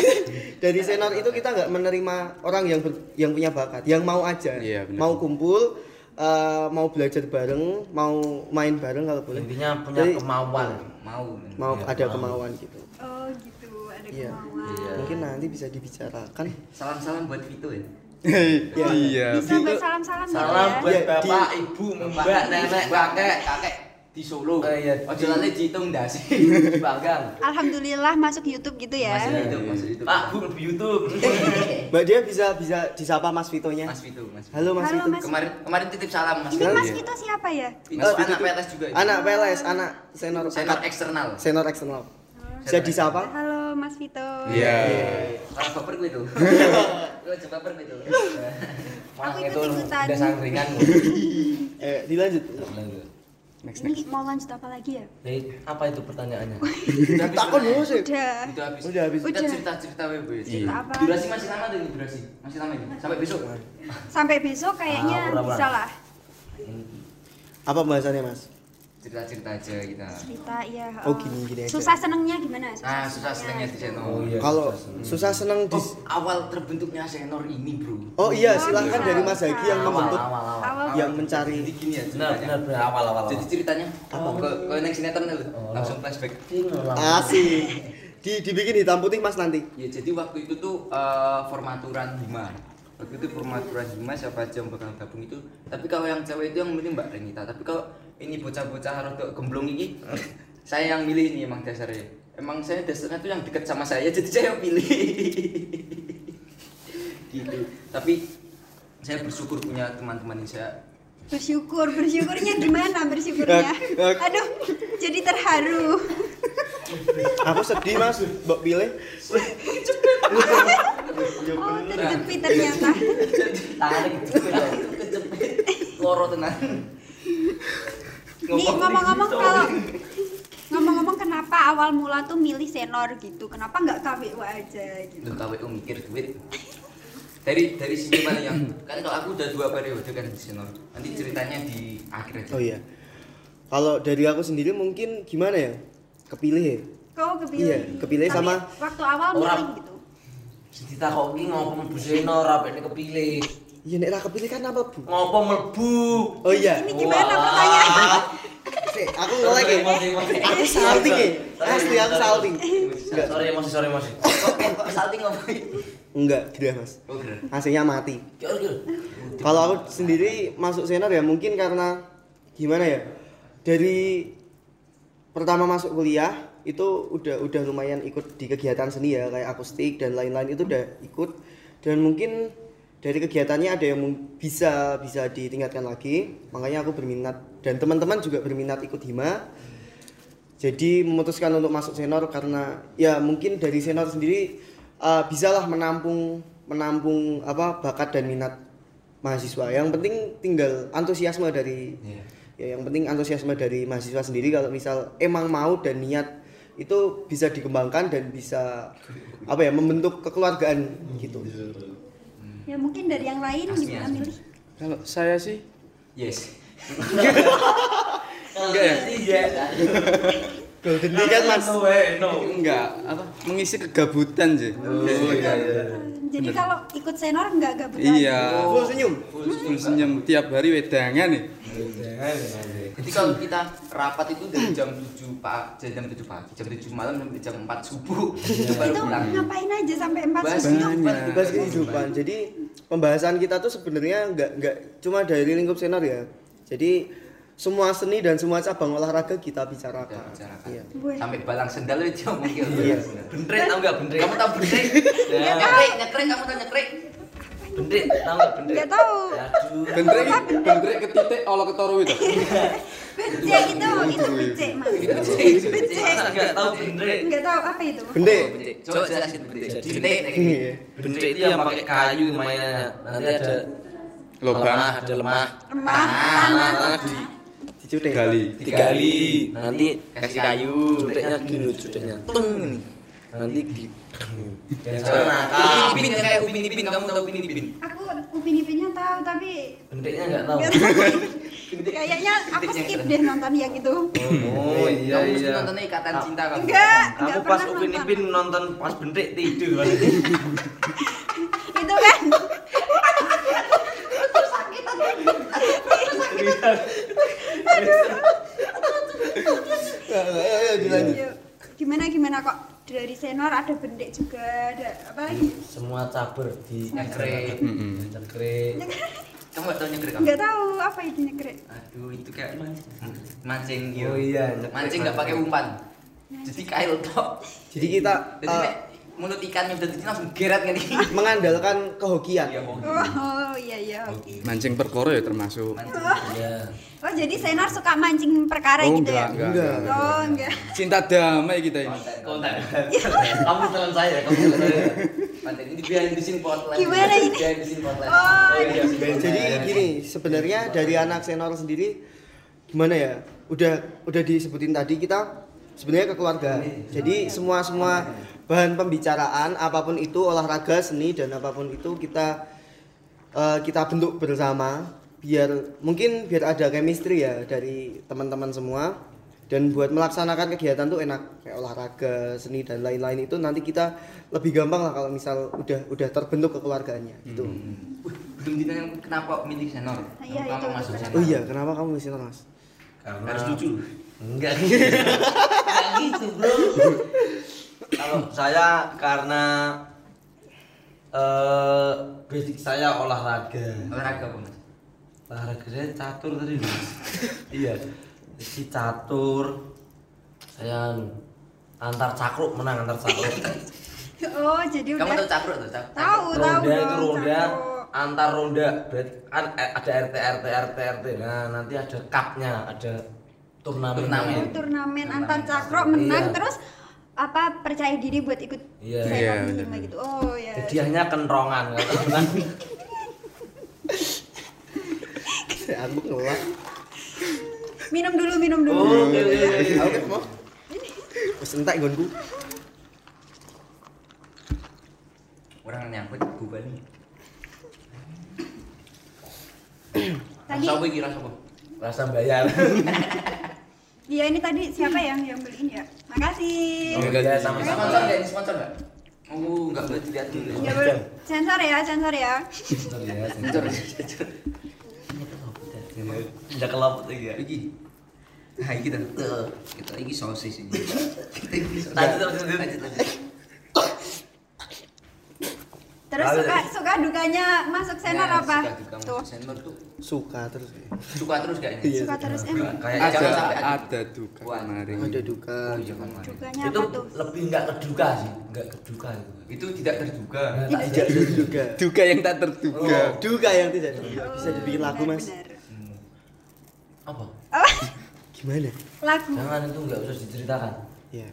Speaker 4: dari senor itu kita nggak menerima orang yang ber- yang punya bakat yang mau aja
Speaker 5: Iya, benar.
Speaker 4: mau kumpul eh, eh, mau belajar bareng, mau main bareng kalau boleh.
Speaker 3: Intinya punya
Speaker 4: Jadi,
Speaker 3: kemauan.
Speaker 2: mau
Speaker 4: mau
Speaker 3: Ya,
Speaker 4: ada
Speaker 3: paham.
Speaker 4: kemauan gitu.
Speaker 1: Oh gitu, ada
Speaker 4: Iya.
Speaker 1: kemauan.
Speaker 3: Iya.
Speaker 4: Mungkin nanti bisa dibicarakan.
Speaker 2: salam salam buat Vito ya
Speaker 5: Iya.
Speaker 1: Bisa buat salam-salam gitu
Speaker 3: Salam
Speaker 1: ya.
Speaker 3: buat
Speaker 4: Iya,
Speaker 3: bapak,
Speaker 2: Pak,
Speaker 3: ibu,
Speaker 2: mbak
Speaker 3: mbak,
Speaker 2: nenek
Speaker 3: nenek,
Speaker 2: kakek kakek di Solo
Speaker 3: Eh, iya.
Speaker 2: ojo lali dihitung dasi
Speaker 3: di Banggang.
Speaker 1: Alhamdulillah masuk YouTube gitu ya.
Speaker 2: masuk YouTube masuk YouTube
Speaker 3: Pak, Bu, lebih YouTube.
Speaker 4: Mbak dia bisa bisa disapa Mas Vitonya.
Speaker 2: Mas Vito Mas Vito.
Speaker 4: Halo Mas
Speaker 1: Halo,
Speaker 4: Vito.
Speaker 1: Mas.
Speaker 2: kemarin kemarin titip salam Mas
Speaker 1: Ini
Speaker 2: Vito
Speaker 1: Mas
Speaker 5: Iya.
Speaker 1: kita siapa ya?
Speaker 2: Mas
Speaker 4: Eh,
Speaker 2: Vito anak
Speaker 4: itu-
Speaker 2: PLS juga itu.
Speaker 4: Anak PLS, anak senior
Speaker 2: senior eksternal
Speaker 4: senior eksternal. Bisa disapa?
Speaker 1: Halo Mas Vito.
Speaker 5: Iya.
Speaker 2: Kalau baper gue <laughs> tuh. Gue coba baper gue tuh.
Speaker 3: Malang
Speaker 1: ikut
Speaker 3: itu
Speaker 1: ikutan.
Speaker 3: udah sangkringan. Bu.
Speaker 4: Eh, dilanjut.
Speaker 5: Next next.
Speaker 1: Ini mau lanjut apa lagi ya?
Speaker 3: Jadi, apa itu pertanyaannya?
Speaker 4: Takon Oh, dulu sih.
Speaker 1: Udah.
Speaker 2: Itu habis.
Speaker 4: Udah habis.
Speaker 2: Kita
Speaker 1: Udah.
Speaker 2: cerita-cerita wes.
Speaker 1: Cerita apa?
Speaker 2: Durasi masih lama tuh ini durasi. Masih lama ini. Sampai besok.
Speaker 1: Sampai besok kayaknya
Speaker 3: Ah, berapa?
Speaker 1: bisa lah.
Speaker 4: Apa bahasannya Mas?
Speaker 2: Cerita-cerita aja kita.
Speaker 1: Cerita ya.
Speaker 4: Oh, gini- gini aja.
Speaker 1: Susah senengnya gimana?
Speaker 2: Nah, susah senengnya di channel.
Speaker 4: Oh,
Speaker 3: Iya,
Speaker 4: Kalau susah seneng di
Speaker 2: Oh, awal terbentuknya senor ini, Bro.
Speaker 4: Oh iya,
Speaker 1: Oh,
Speaker 4: silahkan
Speaker 1: bisa.
Speaker 4: dari Mas Hagi yang
Speaker 3: Awal,
Speaker 4: membentuk
Speaker 3: awal, awal.
Speaker 1: Awal
Speaker 4: yang mencari
Speaker 2: Jadi gini ya
Speaker 3: Benar,
Speaker 2: ceritanya.
Speaker 3: benar, benar. Awal, awal, awal.
Speaker 2: Jadi ceritanya oh, ke, ke next sinetron dulu. Langsung flashback.
Speaker 4: Ah. asik. Di, dibikin hitam putih Mas nanti.
Speaker 2: Ya jadi waktu itu tuh eh, formaturan Hima. Waktu itu formaturan Hima siapa aja yang bakal gabung itu. Tapi kalau yang cewek itu yang milih Mbak Renita. Tapi kalau ini bocah-bocah rotok gemblong ini <laughs> saya yang milih ini emang dasarnya. Emang saya dasarnya tuh yang deket sama saya <laughs> jadi saya yang pilih. gitu. Tapi saya bersyukur punya teman-teman yang saya
Speaker 1: Bersyukur, bersyukurnya gimana bersyukurnya?
Speaker 4: Eh, eh.
Speaker 1: Aduh, jadi terharu.
Speaker 4: Aku sedih Mas, Mbok pilih. Ya,
Speaker 1: Oh, terjepit ternyata.
Speaker 4: <laughs>
Speaker 2: tarik <laughs> kejepit loro tenang.
Speaker 4: gitu.
Speaker 1: Nih ngomong-ngomong kalau ngomong-ngomong kenapa awal mula tuh milih senor gitu? Kenapa nggak KWU aja gitu?
Speaker 2: lu KWU mikir duit dari dari sini paling yang kan kalau aku udah dua periode kan di sini nanti ceritanya di akhir aja
Speaker 4: Oh iya. Kalau dari aku sendiri mungkin gimana ya? Kepilih ya?
Speaker 1: Kau kepilih.
Speaker 4: Iya, kepilih
Speaker 1: Tapi
Speaker 4: sama-
Speaker 1: waktu awal
Speaker 3: Orang.
Speaker 1: milih gitu.
Speaker 3: Cerita kok ini ngomong Bu Seno, rapi ini kepilih.
Speaker 4: Iya, nek ra kepilih kan apa, Bu?
Speaker 3: Ngomong melbu.
Speaker 4: Oh iya.
Speaker 1: Ini gimana
Speaker 3: Wah.
Speaker 1: pertanyaan?
Speaker 4: Sik, aku ngelek ya.
Speaker 3: Emosi, emosi.
Speaker 4: Aku salting ya. Asli aku salting. Enggak.
Speaker 3: Sorry emosi, sorry emosi.
Speaker 2: salting ngapain
Speaker 4: Enggak, gerah, Mas.
Speaker 2: oh bener
Speaker 4: Aslinya mati.
Speaker 3: Kior, kior.
Speaker 4: Kalau aku sendiri masuk senar ya mungkin karena gimana ya? Dari pertama masuk kuliah itu udah udah lumayan ikut di kegiatan seni ya kayak akustik dan lain-lain itu udah ikut dan mungkin dari kegiatannya ada yang mung- bisa bisa ditingkatkan lagi makanya aku berminat dan teman-teman juga berminat ikut hima jadi memutuskan untuk masuk senor karena ya mungkin dari senor sendiri eh, bisalah menampung menampung apa bakat dan minat mahasiswa yang penting tinggal antusiasme dari ya yang penting antusiasme dari mahasiswa sendiri kalau misal emang mau dan niat itu bisa dikembangkan dan bisa apa ya membentuk kekeluargaan gitu
Speaker 1: Ya mungkin dari yang lain
Speaker 2: Asli,
Speaker 1: gimana
Speaker 2: asli.
Speaker 1: milih?
Speaker 5: Kalau saya sih
Speaker 2: yes
Speaker 3: Enggak ya? Iya.
Speaker 4: golden ticket mas
Speaker 3: No way, no.
Speaker 5: enggak apa mengisi kegabutan sih.
Speaker 1: Oh.
Speaker 2: Oh, iya,
Speaker 1: Jadi kalau ikut senor nggak gabut
Speaker 5: Iya.
Speaker 4: full senyum
Speaker 5: Full senyum tiap hari wedangan nih.
Speaker 2: jadi kalau kita rapat itu dari jam 7 pak dari jam 7 pagi jam 7 malam sampai jam 4 subuh
Speaker 4: Iya.
Speaker 2: itu
Speaker 1: lagi.
Speaker 2: baru
Speaker 1: Itu
Speaker 2: pulang
Speaker 1: ngapain aja sampai empat
Speaker 2: Bahas
Speaker 1: subuh?
Speaker 5: Banyak.
Speaker 4: bebas
Speaker 2: iya,
Speaker 4: kehidupan jadi pembahasan kita tuh sebenarnya nggak nggak cuma dari lingkup senar ya jadi semua seni dan semua cabang olahraga kita bicarakan,
Speaker 2: Kita bicarakan.
Speaker 4: Iya.
Speaker 1: Weh.
Speaker 2: sampai balang sendal itu
Speaker 4: <laughs>
Speaker 2: yang mungkin
Speaker 4: Iya.
Speaker 3: Bendrek tau enggak bendrek?
Speaker 2: kamu tahu bener
Speaker 1: Nggak tahu.
Speaker 2: nyekrek nyekrek kamu tahu nyekrek
Speaker 3: Bendrek tau enggak bendrek?
Speaker 1: Nggak tahu.
Speaker 3: Aduh.
Speaker 5: Bentrek bentrek ketitik olah ketoro itu.
Speaker 1: Becek gitu, itu, itu becek mas. Becek.
Speaker 3: Masa enggak tahu bendrek?
Speaker 1: Nggak tahu apa itu.
Speaker 2: Oh,
Speaker 4: bende
Speaker 2: coba jelasin bener
Speaker 3: Jadi-
Speaker 2: jadi
Speaker 4: Iya.
Speaker 3: Bendrek itu yang pakai kayu mainannya. Nanti ada
Speaker 5: Lubang.
Speaker 3: lemah, ada lemah.
Speaker 1: Remah, tanah.
Speaker 3: Tanah di
Speaker 4: dicudek
Speaker 2: Iya,
Speaker 5: Gali.
Speaker 3: digali. Nanti
Speaker 2: kasih kayu
Speaker 3: Bentriknya gini cudeknya. Tung. Nanti di Nah, Yang
Speaker 2: Coba.
Speaker 3: nakal.
Speaker 2: Upin Ipin, kayak Upin Ipin, kamu tahu Upin Ipin?
Speaker 1: Aku upin ipinnya tahu tapi
Speaker 3: Bendriknya enggak tahu.
Speaker 1: nggak tahu. Kayaknya aku skip deh nonton ya gitu. yang itu.
Speaker 3: Oh iya
Speaker 2: kamu mesti
Speaker 3: iya.
Speaker 2: nontonnya Ikatan Cinta kamu.
Speaker 1: Enggak,
Speaker 3: Aku
Speaker 1: enggak
Speaker 3: pas
Speaker 1: pernah
Speaker 3: Upin
Speaker 1: nonton.
Speaker 3: Ipin nonton pas bendrek tidur.
Speaker 1: <laughs> Itu kan.
Speaker 3: Ayo, ayo, dilanjut.
Speaker 1: Iya. Gimana gimana kok dari senior ada bendek juga ada apa lagi?
Speaker 3: Semua caber di
Speaker 2: Nyekre.
Speaker 3: Nyekre.
Speaker 2: Kamu gak tau nyekre kamu?
Speaker 1: <laughs> Nggak tahu apa itu negrek.
Speaker 2: Aduh, itu kayak mancing
Speaker 3: Oh
Speaker 2: yo.
Speaker 3: iya, nyekre.
Speaker 2: Mancing nggak pakai umpan. Jadi kail tok.
Speaker 4: Jadi kita
Speaker 2: Jadi
Speaker 4: eh,
Speaker 2: nek mulut ikannya udah dicium langsung geret
Speaker 1: <laughs>
Speaker 2: ngene.
Speaker 4: mengandalkan kehokian.
Speaker 2: Iya, mau.
Speaker 1: Oh iya iya oke.
Speaker 5: mancing perkara ya termasuk
Speaker 2: Mancing.
Speaker 3: Iya.
Speaker 1: Oh jadi senior suka mancing perkara
Speaker 5: oh
Speaker 1: gitu ya?
Speaker 5: enggak enggak, enggak.
Speaker 1: Oh enggak.
Speaker 5: cinta damai kita ini
Speaker 2: Konten.
Speaker 1: Iya.
Speaker 2: Kamu telan saya, kamu telan saya. Konten ini behind the scene potlet.
Speaker 1: Gimana ini?
Speaker 2: Behind the scene potlet.
Speaker 1: Oh,
Speaker 2: iya, behind the
Speaker 4: Jadi
Speaker 2: scene potlet.
Speaker 4: gini, sebenarnya dari anak senior sendiri gimana ya? Udah udah disebutin tadi kita sebenarnya kekeluargaan. Jadi semua semua bahan pembicaraan apapun itu olahraga, seni dan apapun itu kita eh, kita bentuk bersama biar mungkin biar ada chemistry ya dari teman-teman semua dan buat melaksanakan kegiatan tuh enak kayak olahraga, seni dan lain-lain itu nanti kita lebih gampang lah kalau misal udah udah terbentuk kekeluargaannya gitu.
Speaker 2: Hmm. Wih, Belum ditanya kenapa milih senor?
Speaker 1: Iya,
Speaker 2: Kamu
Speaker 1: itu
Speaker 2: masuk
Speaker 1: betul.
Speaker 2: senor.
Speaker 4: Oh iya, kenapa kamu kesini mas?
Speaker 3: Karena
Speaker 2: Harus lucu.
Speaker 3: Enggak gitu. Enggak gitu, Bro. <laughs> Kalau saya karena eh basic saya olahraga.
Speaker 2: Olahraga apa mas?
Speaker 3: Olahraga saya catur tadi, Mas. <laughs> iya. Si catur saya antar cakruk menang antar cakruk. <laughs>
Speaker 1: Oh jadi
Speaker 2: Kamu
Speaker 1: udah.
Speaker 2: tahu cakruk tuh? Cak-
Speaker 1: Tahu tahu Oh,
Speaker 3: ronda itu
Speaker 1: dong,
Speaker 3: ronda
Speaker 1: tahu.
Speaker 3: antar ronda berarti an- ada RT RT RT RT nah nanti ada cupnya ada turnamen
Speaker 1: Oh,
Speaker 2: Turnamen.
Speaker 1: turnamen antar cakro menang
Speaker 3: Iya.
Speaker 1: terus apa percaya diri buat ikut
Speaker 3: Iya.
Speaker 1: senior
Speaker 5: Iya,
Speaker 1: minimal gitu. Oh ya.
Speaker 3: hadiahnya kenrongan kalau menang
Speaker 4: <laughs> Aku ngelak.
Speaker 1: Minum dulu, minum dulu.
Speaker 3: Oh,
Speaker 2: Oke,
Speaker 3: iya,
Speaker 2: oke, oke.
Speaker 4: Aku kan mau. Wes entek nggonku.
Speaker 2: Orang nyangkut bukan nih.
Speaker 1: Tadi
Speaker 2: Rasa apa iki rasa apa?
Speaker 3: rasa bayar
Speaker 1: iya ini tadi siapa yang yang beliin ya? Makasih.
Speaker 3: Oh, iya, sama-sama.
Speaker 2: Sponsor nggak ini sponsor nggak? Oh, nggak boleh dilihat dulu.
Speaker 1: Ya, boleh. sensor ya, sensor ya.
Speaker 3: Bener ya,
Speaker 2: Sponsor. iya,
Speaker 1: Iya,
Speaker 3: Iya, udah kelopot ya
Speaker 2: Iki. Nah, iki dah. Tuh. Kita iki sosis ini. Kita iki sosis.
Speaker 3: Lanjut, lanjut, lanjut.
Speaker 2: Lanjut, lanjut.
Speaker 1: Terus
Speaker 3: Lalu Ya,
Speaker 1: suka
Speaker 3: tadi.
Speaker 1: suka dukanya masuk senior
Speaker 2: Nah,
Speaker 1: apa?
Speaker 2: suka juga
Speaker 1: Tuh.
Speaker 2: masuk Senor tuh
Speaker 4: Suka terus.
Speaker 2: suka terus gak ini?
Speaker 1: Suka terus eh, em.
Speaker 3: kayak
Speaker 5: ada
Speaker 2: Jangan sampai ada.
Speaker 5: ada duka
Speaker 2: Wah.
Speaker 5: kemarin
Speaker 4: Ada duka.
Speaker 2: iya kan. Mas.
Speaker 1: Dukanya
Speaker 3: itu
Speaker 1: apa tuh?
Speaker 3: lebih nggak keduka sih nggak keduka itu
Speaker 2: Itu tidak terduga.
Speaker 4: Tidak ada duka.
Speaker 5: duka yang tak terduga
Speaker 4: Duka yang tidak terduga. Bisa dibikin lagu, Mas.
Speaker 1: Oh, Benar, benar.
Speaker 3: apa
Speaker 1: Oh,
Speaker 4: Gimana?
Speaker 1: lagu.
Speaker 3: jangan itu nggak usah diceritakan
Speaker 4: Ya.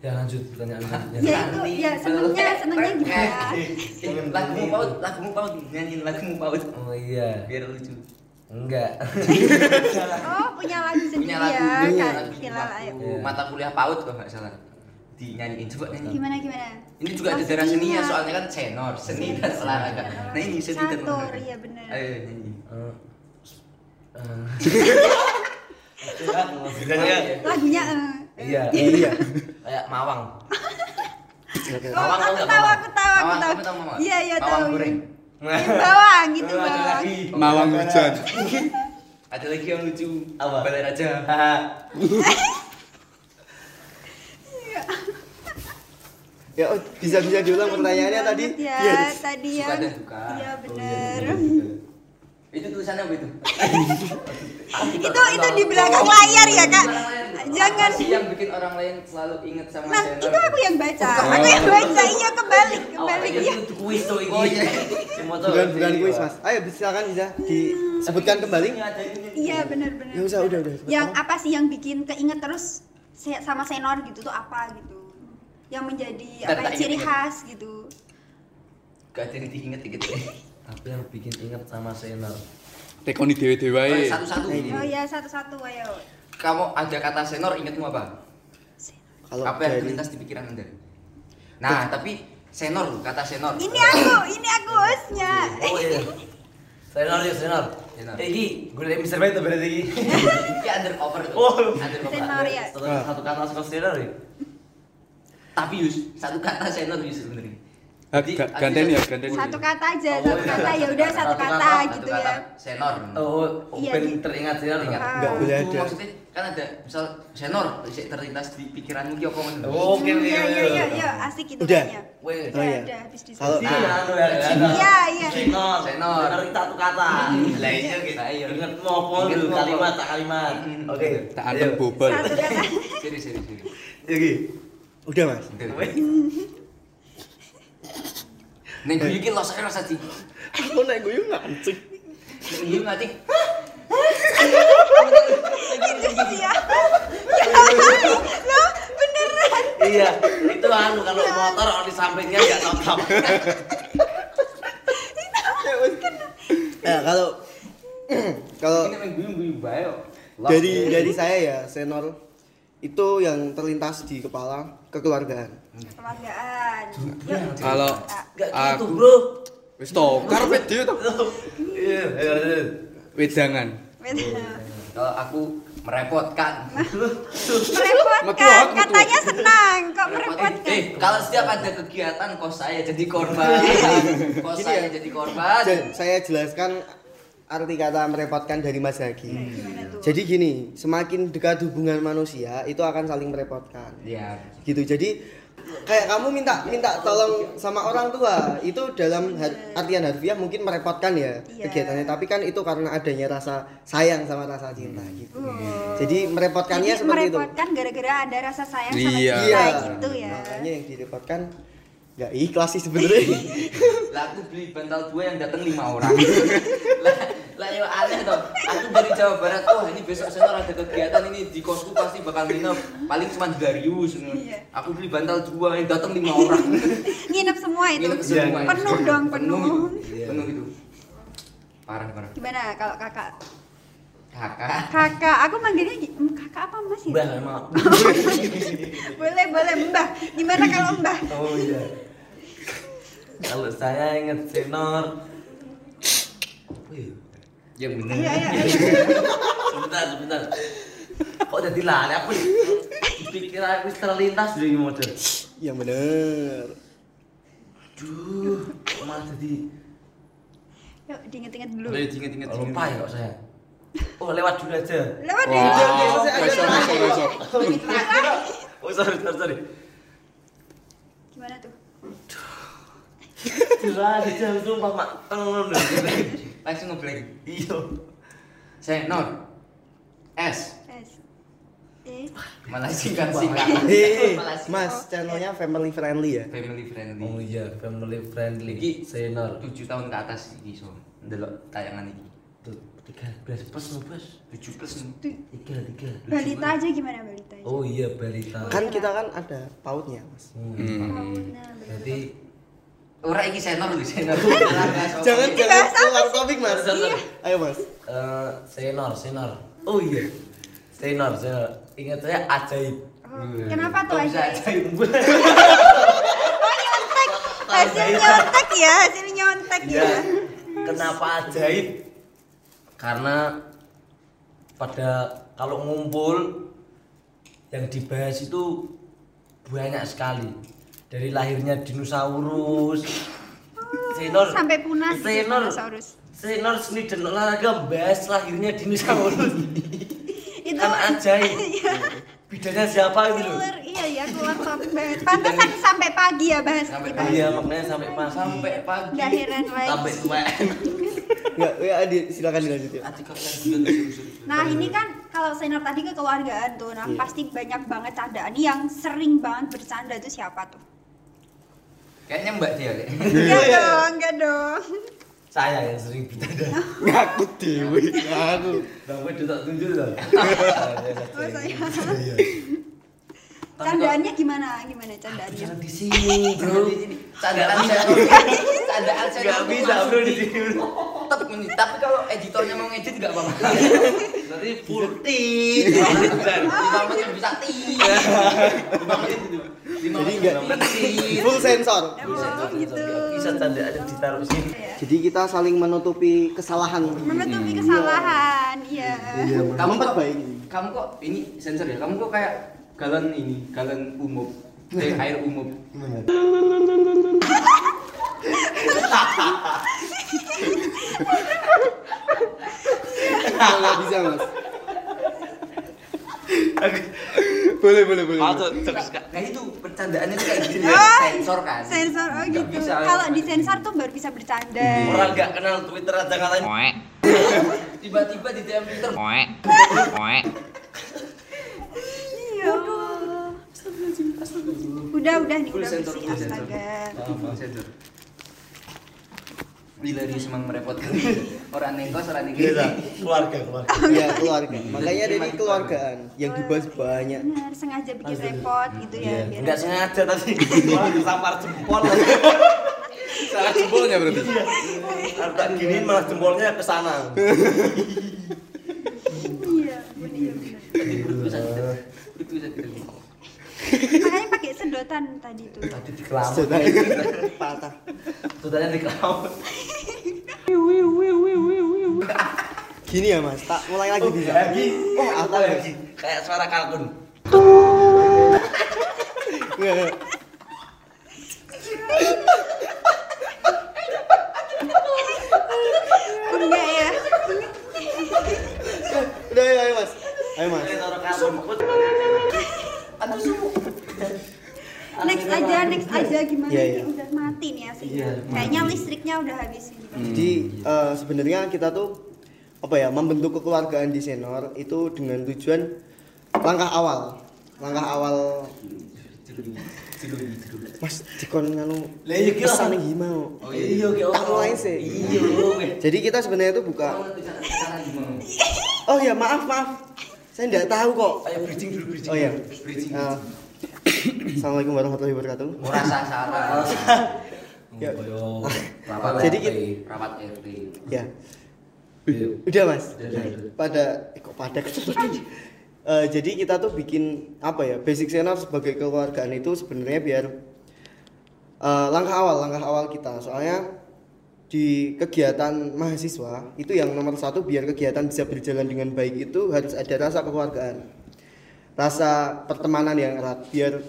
Speaker 3: ya lanjut pertanyaan selanjutnya
Speaker 2: Iya.
Speaker 1: Ya itu ya senengnya senengnya gimana?
Speaker 2: Eh, Lagumu paut, lagumu paut, nyanyiin lagumu paut.
Speaker 3: oh iya
Speaker 2: Biar lucu.
Speaker 3: enggak
Speaker 1: Oh, punya lagu sendiri
Speaker 2: Punya
Speaker 1: ya.
Speaker 2: lagu,
Speaker 1: Kak
Speaker 2: lagu,
Speaker 1: Hilal, ayo.
Speaker 2: lagu mata kuliah paut kalau nggak salah. Dinyanyiin coba nyanyi.
Speaker 1: Gimana gimana?
Speaker 2: Ini juga ada darah seni ya, soalnya kan senor, seni dan olahraga. Nah ini seni dan
Speaker 1: Catur,
Speaker 2: olahraga.
Speaker 1: iya bener.
Speaker 2: Ayo nyanyi.
Speaker 3: Eh, eh.
Speaker 2: Iya.
Speaker 1: Lagunya eh.
Speaker 3: iya
Speaker 4: Iya.
Speaker 3: kayak mawang
Speaker 1: Oh,
Speaker 2: Mawang
Speaker 1: aku
Speaker 2: tahu
Speaker 1: tahu,
Speaker 2: nggak, Mawang?
Speaker 1: aku tahu, aku
Speaker 2: Mawang,
Speaker 1: tahu.
Speaker 2: kamu tahu Mawang?
Speaker 1: Iya, iya tahu.
Speaker 2: Mawang goreng.
Speaker 1: Iya, bawang gitu,
Speaker 3: Aduh, ada
Speaker 1: bawang.
Speaker 3: lagi.
Speaker 5: mawang hujan
Speaker 2: Ada lagi yang lucu.
Speaker 3: Apa?
Speaker 2: Balai raja.
Speaker 3: Haha.
Speaker 4: Ya, oh, bisa bisa diulang pertanyaannya tadi. Iya.
Speaker 1: Banget Iya, Ya,
Speaker 4: Biar
Speaker 1: tadi ya.
Speaker 2: Suka dan duka.
Speaker 1: Iya, bener.
Speaker 2: Itu tulisannya apa itu?
Speaker 1: Itu itu di belakang layar ya, Kak. Jangan.
Speaker 2: Apa sih yang bikin orang lain selalu inget sama
Speaker 1: Nah,
Speaker 2: senor?
Speaker 1: itu aku yang baca. Aku yang baca. Iya, kebalik, kebalik ya.
Speaker 3: Itu kuis tuh ini.
Speaker 2: Oh, iya.
Speaker 3: Semua tuh.
Speaker 4: bukan bukan kuis, Mas. Ayo silakan bisa disebutkan kembali.
Speaker 1: Iya, bener-bener.
Speaker 4: Ya usah, udah, udah.
Speaker 1: Yang apa sih yang bikin keinget terus se- sama senor gitu tuh apa gitu? Yang menjadi
Speaker 2: Ntar
Speaker 1: apa
Speaker 2: tak
Speaker 1: ya, ciri
Speaker 2: inget-inget.
Speaker 1: khas gitu.
Speaker 2: Gak ada yang diinget gitu.
Speaker 3: Apa yang bikin inget sama Senor?
Speaker 5: tekoni dewe dewae
Speaker 2: Satu-satu.
Speaker 1: Oh ya, satu-satu ayo.
Speaker 2: Kamu ada kata senor ingetmu apa?
Speaker 4: Kalau
Speaker 2: apa yang
Speaker 4: dari
Speaker 2: terlintas di pikiran anda nah tapi senor loh, kata senor
Speaker 1: Ini aku, ini aku hostnya.
Speaker 3: Oh iya. Senor ya Senor.
Speaker 2: Senor.
Speaker 3: Eh, Iki, gue dari Mr. Beto berarti iki.
Speaker 2: ini undercover tuh
Speaker 3: Oh.
Speaker 2: undercover
Speaker 1: Senor ya.
Speaker 3: Satu
Speaker 5: Ah.
Speaker 3: satu kata sama Senor ya.
Speaker 2: tapi Yus satu kata senor Yus sebenarnya
Speaker 5: Ah, ga- ganteng ya, ganteng.
Speaker 1: Satu kata aja,
Speaker 2: Oh, iya.
Speaker 1: satu kata ya udah satu kata gitu ya.
Speaker 2: senor
Speaker 3: Oh,
Speaker 1: Iya,
Speaker 3: open
Speaker 1: di-
Speaker 3: teringat sih
Speaker 2: Ingat.
Speaker 1: Ah.
Speaker 4: Nggak boleh
Speaker 2: Itu
Speaker 4: ada.
Speaker 2: maksudnya kan ada misal senor sik terlintas di pikiranmu ki apa ngono
Speaker 3: Oke,
Speaker 1: Hmm,
Speaker 3: oke,
Speaker 1: iya, iya,
Speaker 3: oke.
Speaker 1: iya, iya, asik itu
Speaker 4: Udah.
Speaker 1: kayaknya.
Speaker 3: Weh.
Speaker 1: Udah,
Speaker 4: Oh, iya.
Speaker 1: udah, habis diskusi.
Speaker 4: Kalau-
Speaker 2: Ah.
Speaker 3: Iya, anu ya, ya, ya.
Speaker 1: Iya, iya.
Speaker 3: Senor,
Speaker 2: Senor.
Speaker 3: senor itu satu kata.
Speaker 2: Lah iya gitu. Lah iya.
Speaker 3: Ingat mau apa
Speaker 2: Ingat
Speaker 3: dulu,
Speaker 2: mau apa.
Speaker 3: kalimat tak kalimat. Oke.
Speaker 5: Tak
Speaker 3: Iya.
Speaker 5: antem bobol.
Speaker 1: Satu kata.
Speaker 2: Siri siri siri.
Speaker 4: Oke. Udah, Mas.
Speaker 2: Ning guyu iki los ae rasa di.
Speaker 4: Aku naik guyu ngancik.
Speaker 2: Ning guyu ngati.
Speaker 1: Iya. Lo beneran.
Speaker 3: Iya, itu anu kalau motor orang di sampingnya nggak top
Speaker 4: Nah, kalau <clears throat> kalau
Speaker 2: Ini ning guyu guyu bae kok. Los.
Speaker 4: dari
Speaker 3: iya.
Speaker 4: dari saya ya, senor itu yang terlintas di kepala kekeluargaan.
Speaker 1: Kekeluargaan. Yuk.
Speaker 5: Kalau
Speaker 3: Gak gitu,
Speaker 5: aku
Speaker 3: Bro.
Speaker 5: wis tokar video to.
Speaker 3: Iya, iya, iya.
Speaker 5: Wedangan.
Speaker 1: Beda.
Speaker 2: Kalau aku merepotkan.
Speaker 1: merepotkan
Speaker 5: Metuak, metuak.
Speaker 1: katanya senang kok merepotkan
Speaker 2: Eh, kalau setiap ada kegiatan kos saya jadi
Speaker 1: <laughs>
Speaker 2: korban.
Speaker 1: Iya.
Speaker 2: Kos
Speaker 1: ya.
Speaker 2: saya jadi korban.
Speaker 4: Ja- saya jelaskan arti kata merepotkan dari Mas Hagi.
Speaker 1: gimana tuh
Speaker 4: Jadi gini, semakin dekat hubungan manusia itu akan saling merepotkan.
Speaker 2: Ya.
Speaker 4: gitu jadi kayak kamu minta minta tolong sama orang tua itu dalam har- artian harfiah mungkin merepotkan ya
Speaker 1: Iya.
Speaker 4: kegiatannya tapi kan itu karena adanya rasa sayang sama rasa cinta gitu
Speaker 1: Oh.
Speaker 4: jadi merepotkannya
Speaker 1: Jadi
Speaker 4: seperti itu
Speaker 1: merepotkan gara-gara ada rasa sayang sama
Speaker 5: Iya.
Speaker 1: cinta
Speaker 4: iya
Speaker 1: gitu ya
Speaker 4: makanya yang direpotkan nggak ikhlas sih
Speaker 1: <laughs>
Speaker 4: sebenarnya
Speaker 2: Lah aku beli bantal dua yang datang lima orang. <laughs> lah, lah yo aneh toh. Aku dari Jawa Barat, wah ini besok saya ada kegiatan ini di kosku pasti bakal nginep. Paling cuma Darius.
Speaker 1: Iya.
Speaker 2: Aku beli bantal dua yang datang lima
Speaker 1: <laughs>
Speaker 2: orang.
Speaker 1: nginep semua itu
Speaker 2: Nginep semua.
Speaker 1: Iya. penuh dong penuh
Speaker 2: Penuh, itu. penuh itu. Parah parah.
Speaker 1: gimana kalau kakak
Speaker 2: Kakak.
Speaker 1: kakak aku manggilnya gi- mm, kakak apa mas ya
Speaker 3: Mbah emang.
Speaker 1: boleh boleh mbah gimana kalau mbah
Speaker 3: Oh iya. Kalau saya ingat senor. Wih,
Speaker 2: Ya bener.
Speaker 1: ayo ayo ayo
Speaker 3: sebentar, sebentar. Kok jadi lali aku? Pikir aku terlintas dari model.
Speaker 4: yang Iya, bener
Speaker 3: Duh, malah jadi
Speaker 1: yuk diinget-inget dulu
Speaker 2: Boleh diinget-inget
Speaker 3: lupa ya kok saya. Oh, lewat dulu aja.
Speaker 1: lewat
Speaker 5: Wah,
Speaker 1: dari jauh
Speaker 5: besok besok besok.
Speaker 3: Oh, sorry, sorry, sorry.
Speaker 1: gimana tuh
Speaker 3: Jelas, jam sumpah, Mak. Tolong, tolong.
Speaker 2: Langsung ngeblank.
Speaker 3: Iya.
Speaker 2: Senor. S.
Speaker 1: S E
Speaker 2: Malah singkat singkat.
Speaker 1: Iya,
Speaker 4: Hei,
Speaker 2: Malah singkat.
Speaker 4: mas channelnya family friendly ya
Speaker 2: Family friendly.
Speaker 3: Oh iya, family friendly.
Speaker 2: Iki
Speaker 3: senor.
Speaker 2: 7 tahun ke atas iki so. Ndelok tayangan iki.
Speaker 3: Tuh, 13 plus no, Oh, Bos.
Speaker 2: 7 plus.
Speaker 1: Tu-
Speaker 3: 3 3.
Speaker 1: balita aja gimana balita aja
Speaker 3: Oh iya, balita.
Speaker 4: kan kita kan ada pautnya mas
Speaker 3: Hmm.
Speaker 1: Nah,
Speaker 3: Jadi
Speaker 2: Ora iki senor lho, senor.
Speaker 4: <laughs>
Speaker 1: Ini
Speaker 4: jangan jangan
Speaker 1: bahas apa Iya,
Speaker 4: keluar topik mas
Speaker 3: Sorry, sorry.
Speaker 4: ayo mas
Speaker 3: eh senor, senor. Oh iya. Senor, senor. Ingat saya ajaib.
Speaker 1: Oh, kenapa tuh
Speaker 2: Bisa
Speaker 1: aja
Speaker 2: ajaib.
Speaker 3: Iya.
Speaker 1: Oh nyontek, hasil nyontek ya, hasil nyontek ya.
Speaker 3: Iya. Kenapa ajaib? Karena pada kalau ngumpul yang dibahas itu banyak sekali. Dari lahirnya dinosaurus. Senor
Speaker 1: Sampai punah gitu
Speaker 3: Senor.
Speaker 1: dinosaurus.
Speaker 3: Senor seni dan olahraga bahas lahirnya dinosaurus.
Speaker 1: Itu
Speaker 3: kan ajaib. Bidanya siapa gitu loh.
Speaker 1: keluar, iya ya keluar topik banget. Pantesan sampai pagi ya bahas
Speaker 2: Sampai
Speaker 1: kita.
Speaker 2: pagi.
Speaker 3: Iya, maknanya sampai pas
Speaker 2: Sampai pagi.
Speaker 1: Nggak heran lagi.
Speaker 3: sampai tua.
Speaker 4: nggak ya di- silakan dilanjut ya
Speaker 2: Adik kalian bilang disuruh-suruh.
Speaker 1: Nah ini kan kalau senior tadi kekeluargaan tuh, nah pasti banyak banget candaan Ini yang sering banget bercanda tuh siapa tuh?
Speaker 2: Kayaknya Mbak dia. Dek.
Speaker 1: Enggak dong, enggak dong.
Speaker 3: Saya yang sering bidana.
Speaker 4: ngaku dewi ngaku
Speaker 3: Bang Wed tak tunjuk loh.
Speaker 1: Oh saya.
Speaker 3: Iya.
Speaker 1: <laughs> Candaannya gimana? Gimana candaannya?
Speaker 3: Jangan di sini, Bro.
Speaker 2: Di sini. Candaan saya. Candaan saya.
Speaker 3: Gak bisa, Bro, di sini.
Speaker 2: Tetep ini. Tapi kalau editornya mau ngedit enggak apa-apa.
Speaker 3: Nanti full ti.
Speaker 2: Lima menit bisa ti. Lima menit gitu. Lima
Speaker 4: Jadi
Speaker 2: menit,
Speaker 4: nggak-
Speaker 2: lima
Speaker 1: Iya.
Speaker 2: menit.
Speaker 4: full sensor
Speaker 1: Oh gitu.
Speaker 3: Bisa tanda ada ditaruh sini.
Speaker 1: Iya.
Speaker 4: jadi kita saling menutupi kesalahan
Speaker 1: Menutupi kesalahan, iya.
Speaker 2: Kamu kok
Speaker 4: memperbaiki.
Speaker 2: Kamu kok ini sensor ya? Kamu kok kayak
Speaker 1: Iya.
Speaker 2: galon ini, galon umum. Eh, air umum.
Speaker 4: Kalau nggak bisa mas.
Speaker 5: boleh boleh boleh
Speaker 2: Nah itu percandaannya tuh kayak gini
Speaker 1: Oh,
Speaker 2: sensor kan.
Speaker 1: sensor oh
Speaker 2: Nggak
Speaker 1: gitu
Speaker 2: bisa.
Speaker 1: kalau disensor tuh baru bisa bercanda
Speaker 3: Orang gak kenal Twitter aja ngatain
Speaker 2: Tiba-tiba di DM Twitter
Speaker 1: iya udah udah nih
Speaker 2: Full
Speaker 1: udah
Speaker 2: sensor,
Speaker 1: bersih
Speaker 2: full sensor.
Speaker 1: astaga
Speaker 2: Itu full sensor. Bila dia semang merepotkan orang nengkos orang nengkos.
Speaker 4: Iya.
Speaker 3: keluarga keluarga.
Speaker 4: Iya keluarga. Makanya dari keluargaan yang dibahas banyak.
Speaker 1: benar sengaja bikin repot gitu ya biar
Speaker 3: Iya, Enggak sengaja tadi. Orang kesampar jempol.
Speaker 5: salah jempolnya berarti
Speaker 3: Harus tak gini malah jempolnya ke sana.
Speaker 1: iya bener, iya, bener.
Speaker 2: Itu sakit. Itu sakit.
Speaker 1: makanya pakai sedotan tadi tuh
Speaker 3: Tadi di kelamun.
Speaker 4: Sudah patah.
Speaker 3: Sudahnya di kelamun.
Speaker 4: Gini ya mas. Tak mulai lagi bisa.
Speaker 3: Lagi.
Speaker 4: Oh apa lagi?
Speaker 3: lagi. Kayak suara kalkun.
Speaker 4: Iya,
Speaker 1: enggak ya
Speaker 4: Udah ayo, ayo mas. Ayo mas.
Speaker 3: Kayak suara kalkun.
Speaker 1: next aja next aja gimana
Speaker 4: Iya,
Speaker 1: nih
Speaker 4: iya.
Speaker 1: udah mati nih ya sih kayaknya listriknya udah habis ini
Speaker 4: Jadi
Speaker 3: Hmm.
Speaker 4: eh, sebenarnya kita tuh apa ya membentuk kekeluargaan di Senor itu dengan tujuan langkah awal, langkah awal. Mas dikon nganu
Speaker 3: Lah, iya, kira.
Speaker 4: pesan yang gimau.
Speaker 2: Oh,
Speaker 3: Iya, oke.
Speaker 4: Tak mulai sih.
Speaker 3: Iya, oke.
Speaker 4: Jadi kita sebenarnya itu buka. Oh ya maaf maaf, saya nggak tahu kok.
Speaker 3: Ayo bridging dulu bridging.
Speaker 4: Oh ya. Eh,
Speaker 2: Oh.
Speaker 4: Assalamualaikum warahmatullahi wabarakatuh.
Speaker 2: Murah sasaran.
Speaker 4: Ya.
Speaker 2: Oh.
Speaker 3: Ayo.
Speaker 4: Jadi
Speaker 3: RT.
Speaker 2: Rapat RT.
Speaker 4: Ya.
Speaker 3: Iya.
Speaker 4: Udah mas.
Speaker 3: Udah, udah, udah.
Speaker 4: Pada eh, kok pada <laughs> keterusan? Eh, jadi kita tuh bikin apa ya basic senior sebagai kekeluargaan itu sebenarnya biar eh, langkah awal langkah awal kita soalnya di kegiatan mahasiswa itu yang nomor satu biar kegiatan bisa berjalan dengan baik itu harus ada rasa kekeluargaan rasa pertemanan yang erat biar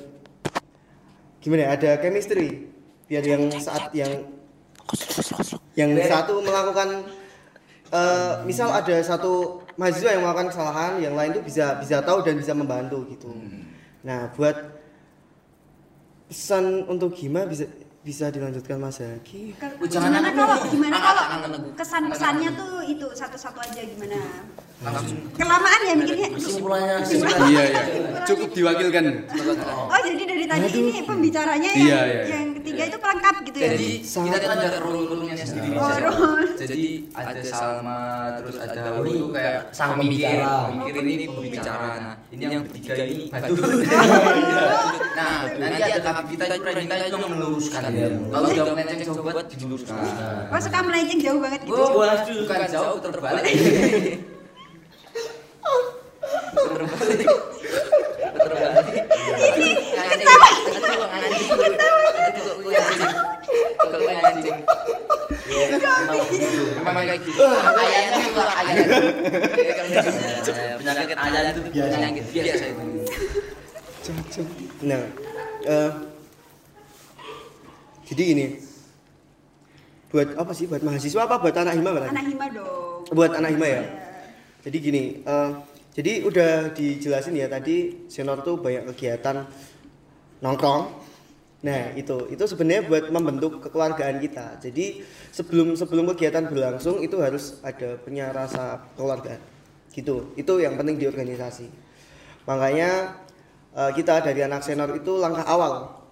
Speaker 4: gimana ya, ada chemistry biar yang saat yang yang satu melakukan eh, misal ada satu mahasiswa yang melakukan kesalahan yang lain tuh bisa bisa tahu dan bisa membantu gitu nah buat pesan untuk Gima bisa bisa dilanjutkan Mas Haki
Speaker 1: Ke-
Speaker 2: Oh, jangan
Speaker 1: gimana
Speaker 2: aku
Speaker 1: kalau
Speaker 2: dulu.
Speaker 1: gimana
Speaker 2: Anak,
Speaker 1: kalau
Speaker 2: anak, anak.
Speaker 1: kesan-kesannya tuh itu satu-satu aja gimana
Speaker 2: Langsung
Speaker 1: kelamaan ya mikirnya
Speaker 3: Kesimpulannya
Speaker 5: iya iya cukup diwakilkan
Speaker 1: oh jadi dari tadi ini pembicaranya yang,
Speaker 5: Iya, iya, iya.
Speaker 1: yang ketiga itu pelengkap gitu ya
Speaker 2: Jadi kita
Speaker 4: Sangat
Speaker 2: tuh ada role-role-nya sendiri.
Speaker 1: Oh,
Speaker 2: Jadi,
Speaker 1: role.
Speaker 2: Jadi ada Salma, terus ada Uli itu kayak
Speaker 3: sang
Speaker 2: pemikir,
Speaker 3: pembicara.
Speaker 2: pemikir ini pembicara. Nah, ini yang bertiga ini batu. <laughs> Nah, nanti ada kakak kita itu Renita itu yang Iya, meluruskan. Nah. Kalau udah melenceng jauh banget diluruskan.
Speaker 1: oh suka melenceng jauh banget gitu
Speaker 2: Oh, bukan jauh terbalik. Terbalik. Terbalik. Ini ketawa. Ketawa. Ketawa. Memang kayak gitu. Ayahnya itu lah, ayahnya. Kayak gitu. Penyakit ayah itu penyakit biasa itu.
Speaker 4: nah eh, jadi ini buat apa sih buat mahasiswa apa buat anak Hima berarti?
Speaker 1: anak hima dong
Speaker 4: buat anak hima ya. Jadi gini, eh, jadi udah dijelasin ya tadi senor tuh banyak kegiatan nongkrong. Nah itu itu sebenarnya buat membentuk kekeluargaan kita. Jadi sebelum sebelum kegiatan berlangsung itu harus ada punya rasa keluarga. Gitu. Itu yang penting di organisasi. Makanya eh, kita dari anak senor itu langkah awal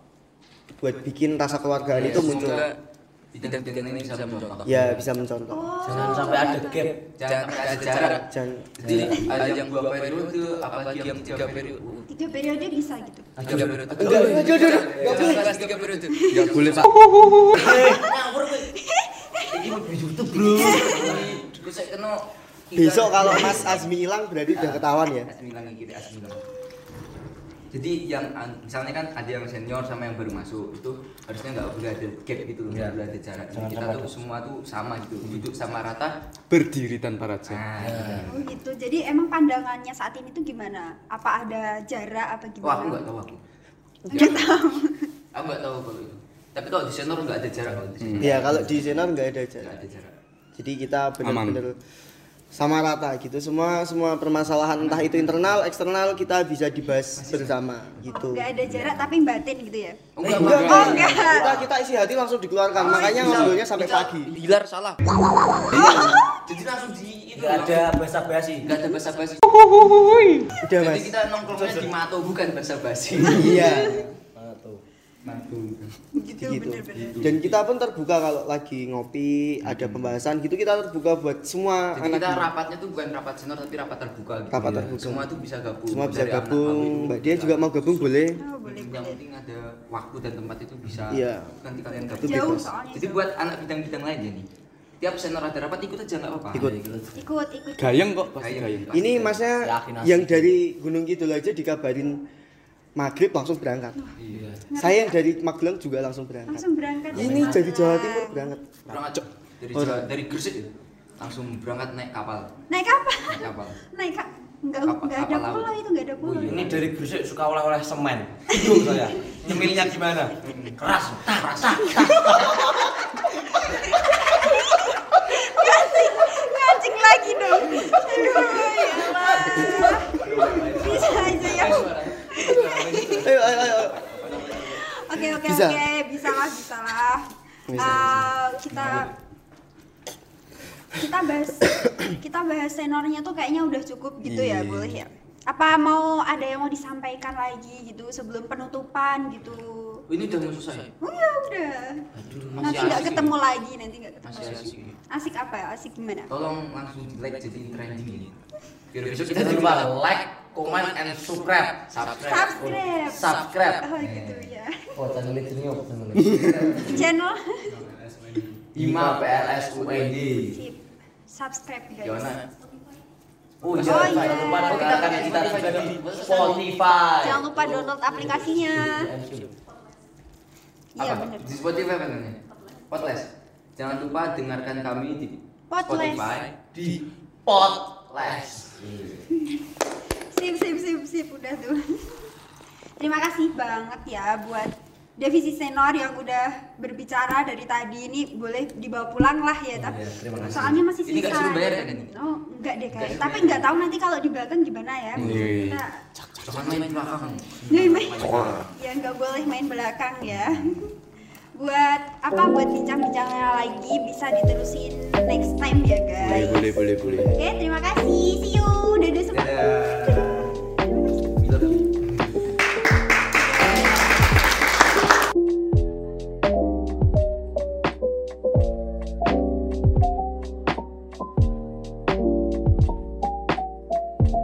Speaker 4: buat bikin rasa keluargaan
Speaker 2: Iya,
Speaker 4: itu muncul.
Speaker 6: Semoga
Speaker 2: Bidang-bidang ini bisa mencontoh.
Speaker 4: Ya bisa mencontoh.
Speaker 1: Oh.
Speaker 3: Jangan sampai ada gap.
Speaker 2: Jangan sampai ada jarak.
Speaker 4: Jangan
Speaker 2: Jadi ada yang dua periode, apalagi yang tiga periode.
Speaker 1: tiga periode bisa gitu
Speaker 2: Tiga periode.
Speaker 4: Enggak, enggak, enggak, enggak, enggak boleh.
Speaker 2: Enggak, tiga periode.
Speaker 5: nggak boleh pak
Speaker 2: Terus saya kena
Speaker 4: Besok kalau Mas Azmi hilang berarti udah ketahuan ya.
Speaker 2: Asmi bilang kayak gitu, Asmi bilang. Jadi yang an- misalnya kan ada yang senior sama yang baru masuk itu harusnya nggak boleh ada gap gitu
Speaker 4: Iya.
Speaker 2: loh, nggak boleh ada jarak. Jadi kita tuh semua tuh sama gitu,
Speaker 4: Hmm.
Speaker 2: duduk sama rata.
Speaker 5: berdiri tanpa raja
Speaker 2: Nah,
Speaker 4: Iya.
Speaker 1: oh gitu jadi emang pandangannya saat ini tuh gimana apa ada jarak apa
Speaker 2: gitu. Wah, aku nggak
Speaker 1: gimana
Speaker 2: tahu aku.
Speaker 1: nggak tahu
Speaker 2: Aku nggak tahu kalau itu. Tapi kalau di senior
Speaker 4: Hmm. Iya,
Speaker 2: nggak ada jarak kalau di senior.
Speaker 4: Ya kalau di Senar nggak ada
Speaker 2: Nggak
Speaker 4: jarak.
Speaker 2: ada jarak.
Speaker 4: Jadi kita benar-benar sama rata gitu semua semua permasalahan entah itu internal eksternal kita bisa dibahas bersama gitu
Speaker 1: Nggak ada jarak tapi batin gitu ya.
Speaker 2: Oh, enggak,
Speaker 4: Enggak,
Speaker 1: Oh,
Speaker 4: enggak.
Speaker 1: enggak.
Speaker 4: kita kita isi hati langsung dikeluarkan
Speaker 2: Oh,
Speaker 4: makanya
Speaker 2: iya.
Speaker 4: ngobrolnya sampai pagi Iya.
Speaker 2: Dilar salah. Jadi langsung di itu.
Speaker 3: Gak ada bahasa basi.
Speaker 2: Enggak ada bahasa basi.
Speaker 4: udah
Speaker 2: Jadi
Speaker 4: Iya, mas
Speaker 2: kita nongkrongnya di Mato bukan bahasa basi.
Speaker 4: iya
Speaker 1: Gitu,
Speaker 4: gitu
Speaker 1: bener-bener.
Speaker 4: dan kita pun terbuka kalau lagi ngopi ada pembahasan gitu kita terbuka buat semua
Speaker 2: Jadi
Speaker 4: anak
Speaker 2: kita
Speaker 4: muda.
Speaker 2: rapatnya tuh bukan rapat senior tapi rapat terbuka gitu.
Speaker 4: Rapat
Speaker 2: Iya.
Speaker 4: terbuka.
Speaker 2: Semua tuh bisa gabung.
Speaker 4: semua bisa
Speaker 2: Dari anak kami,
Speaker 4: gabung mbak dia juga mau gabung
Speaker 1: Oh, boleh
Speaker 4: boleh
Speaker 2: Iya. yang
Speaker 1: boleh.
Speaker 2: penting ada waktu dan tempat itu bisa
Speaker 4: Iya.
Speaker 2: nanti kalian gabung.
Speaker 1: Jauh
Speaker 4: bebas.
Speaker 1: soalnya.
Speaker 2: Jadi buat anak bidang-bidang lain ya nih. Tiap senior ada rapat ikut aja nggak apa-apa. gitu.
Speaker 4: Ikut.
Speaker 1: Ikut ikut.
Speaker 5: Gayeng kok pasti gayeng.
Speaker 2: Pasti kan?
Speaker 4: ini
Speaker 2: gayeng.
Speaker 4: masnya
Speaker 3: Yakin asik.
Speaker 4: yang dari Gunung Kidul aja dikabarin maghrib langsung berangkat
Speaker 2: Iya.
Speaker 4: saya yang dari Magelang juga langsung berangkat
Speaker 1: Langsung berangkat.
Speaker 4: ini dari Jawa Timur berangkat
Speaker 2: Berangkat dari Jawa- dari Gresik ya? langsung berangkat naik kapal.
Speaker 1: Naik apa?
Speaker 2: Naik kapal.
Speaker 1: Naik kak. Enggak
Speaker 2: Kapal-
Speaker 1: enggak ada
Speaker 2: kapal laut.
Speaker 1: pulau itu enggak ada pulau.
Speaker 2: Oh, iya.
Speaker 3: Ini dari Gresik suka oleh-oleh semen. Hidung saya. Nyemilnya gimana? Keras. Tah, rasa.
Speaker 1: Ngancing, ngancing lagi dong. Aduh, ya Allah. Bisa aja ya.
Speaker 4: ayo ayo ayo
Speaker 1: Oke oke
Speaker 4: Bisa.
Speaker 1: oke, bisa lah, bisa lah.
Speaker 4: Bisa,
Speaker 1: Eh, kita kita bahas kita bahas senornya tuh kayaknya udah cukup gitu ya,
Speaker 5: Iya.
Speaker 1: boleh ya. Apa mau ada yang mau disampaikan lagi gitu sebelum penutupan gitu?
Speaker 2: Ini udah mau selesai.
Speaker 1: Oh ya udah.
Speaker 2: Aduh,
Speaker 1: Nanti nggak
Speaker 2: asik
Speaker 1: ketemu
Speaker 2: ini.
Speaker 1: lagi, nanti nggak ketemu
Speaker 2: Masih
Speaker 1: lagi.
Speaker 2: asik ini.
Speaker 1: Asik apa ya? Asik gimana?
Speaker 2: Tolong langsung di like jadi trending ini. Biar besok kita
Speaker 3: Jangan lupa like, comment, and subscribe.
Speaker 1: Subscribe.
Speaker 3: Subscribe.
Speaker 1: Oh gitu ya.
Speaker 3: Oh, channel ini apa channel?
Speaker 1: <laughs> Channel
Speaker 2: Ima PLS UED.
Speaker 1: Sip. subscribe guys.
Speaker 2: Gimana?
Speaker 1: Oh,
Speaker 3: Oh, jangan
Speaker 1: iya.
Speaker 3: lupa dengarkan kita juga di Spotify.
Speaker 1: Jangan lupa download aplikasinya. Iya
Speaker 2: Apa?
Speaker 1: benar.
Speaker 2: Di Spotify apa namanya? Podcast. Jangan lupa dengarkan kami di
Speaker 1: Podcast.
Speaker 2: Spotify. Di
Speaker 3: Podcast.
Speaker 1: Sip sip sip sip udah tuh. <laughs> Terima kasih banget ya buat Devisi Senor yang udah berbicara dari tadi ini boleh dibawa pulang lah ya tapi
Speaker 3: Iya, terima kasih.
Speaker 1: soalnya masih sisa.
Speaker 2: Ini nggak disuruh bayar ya, Kak, ini?
Speaker 1: Oh enggak deh
Speaker 2: Nggak
Speaker 1: kayak.
Speaker 2: disuruh
Speaker 1: Tapi
Speaker 2: bayar.
Speaker 1: nggak tahu nanti kalau di Banten gimana ya.
Speaker 5: Iya.
Speaker 1: Kita
Speaker 2: Jangan main belakang.
Speaker 1: Nih, main. Ya nggak boleh main belakang ya. <laughs> buat apa buat bincang-bincangnya lagi bisa diterusin next time ya
Speaker 5: Iya, Boleh
Speaker 1: guys.
Speaker 5: boleh boleh boleh.
Speaker 1: Oke, terima kasih. See you. Dadah semua.
Speaker 2: Dadah.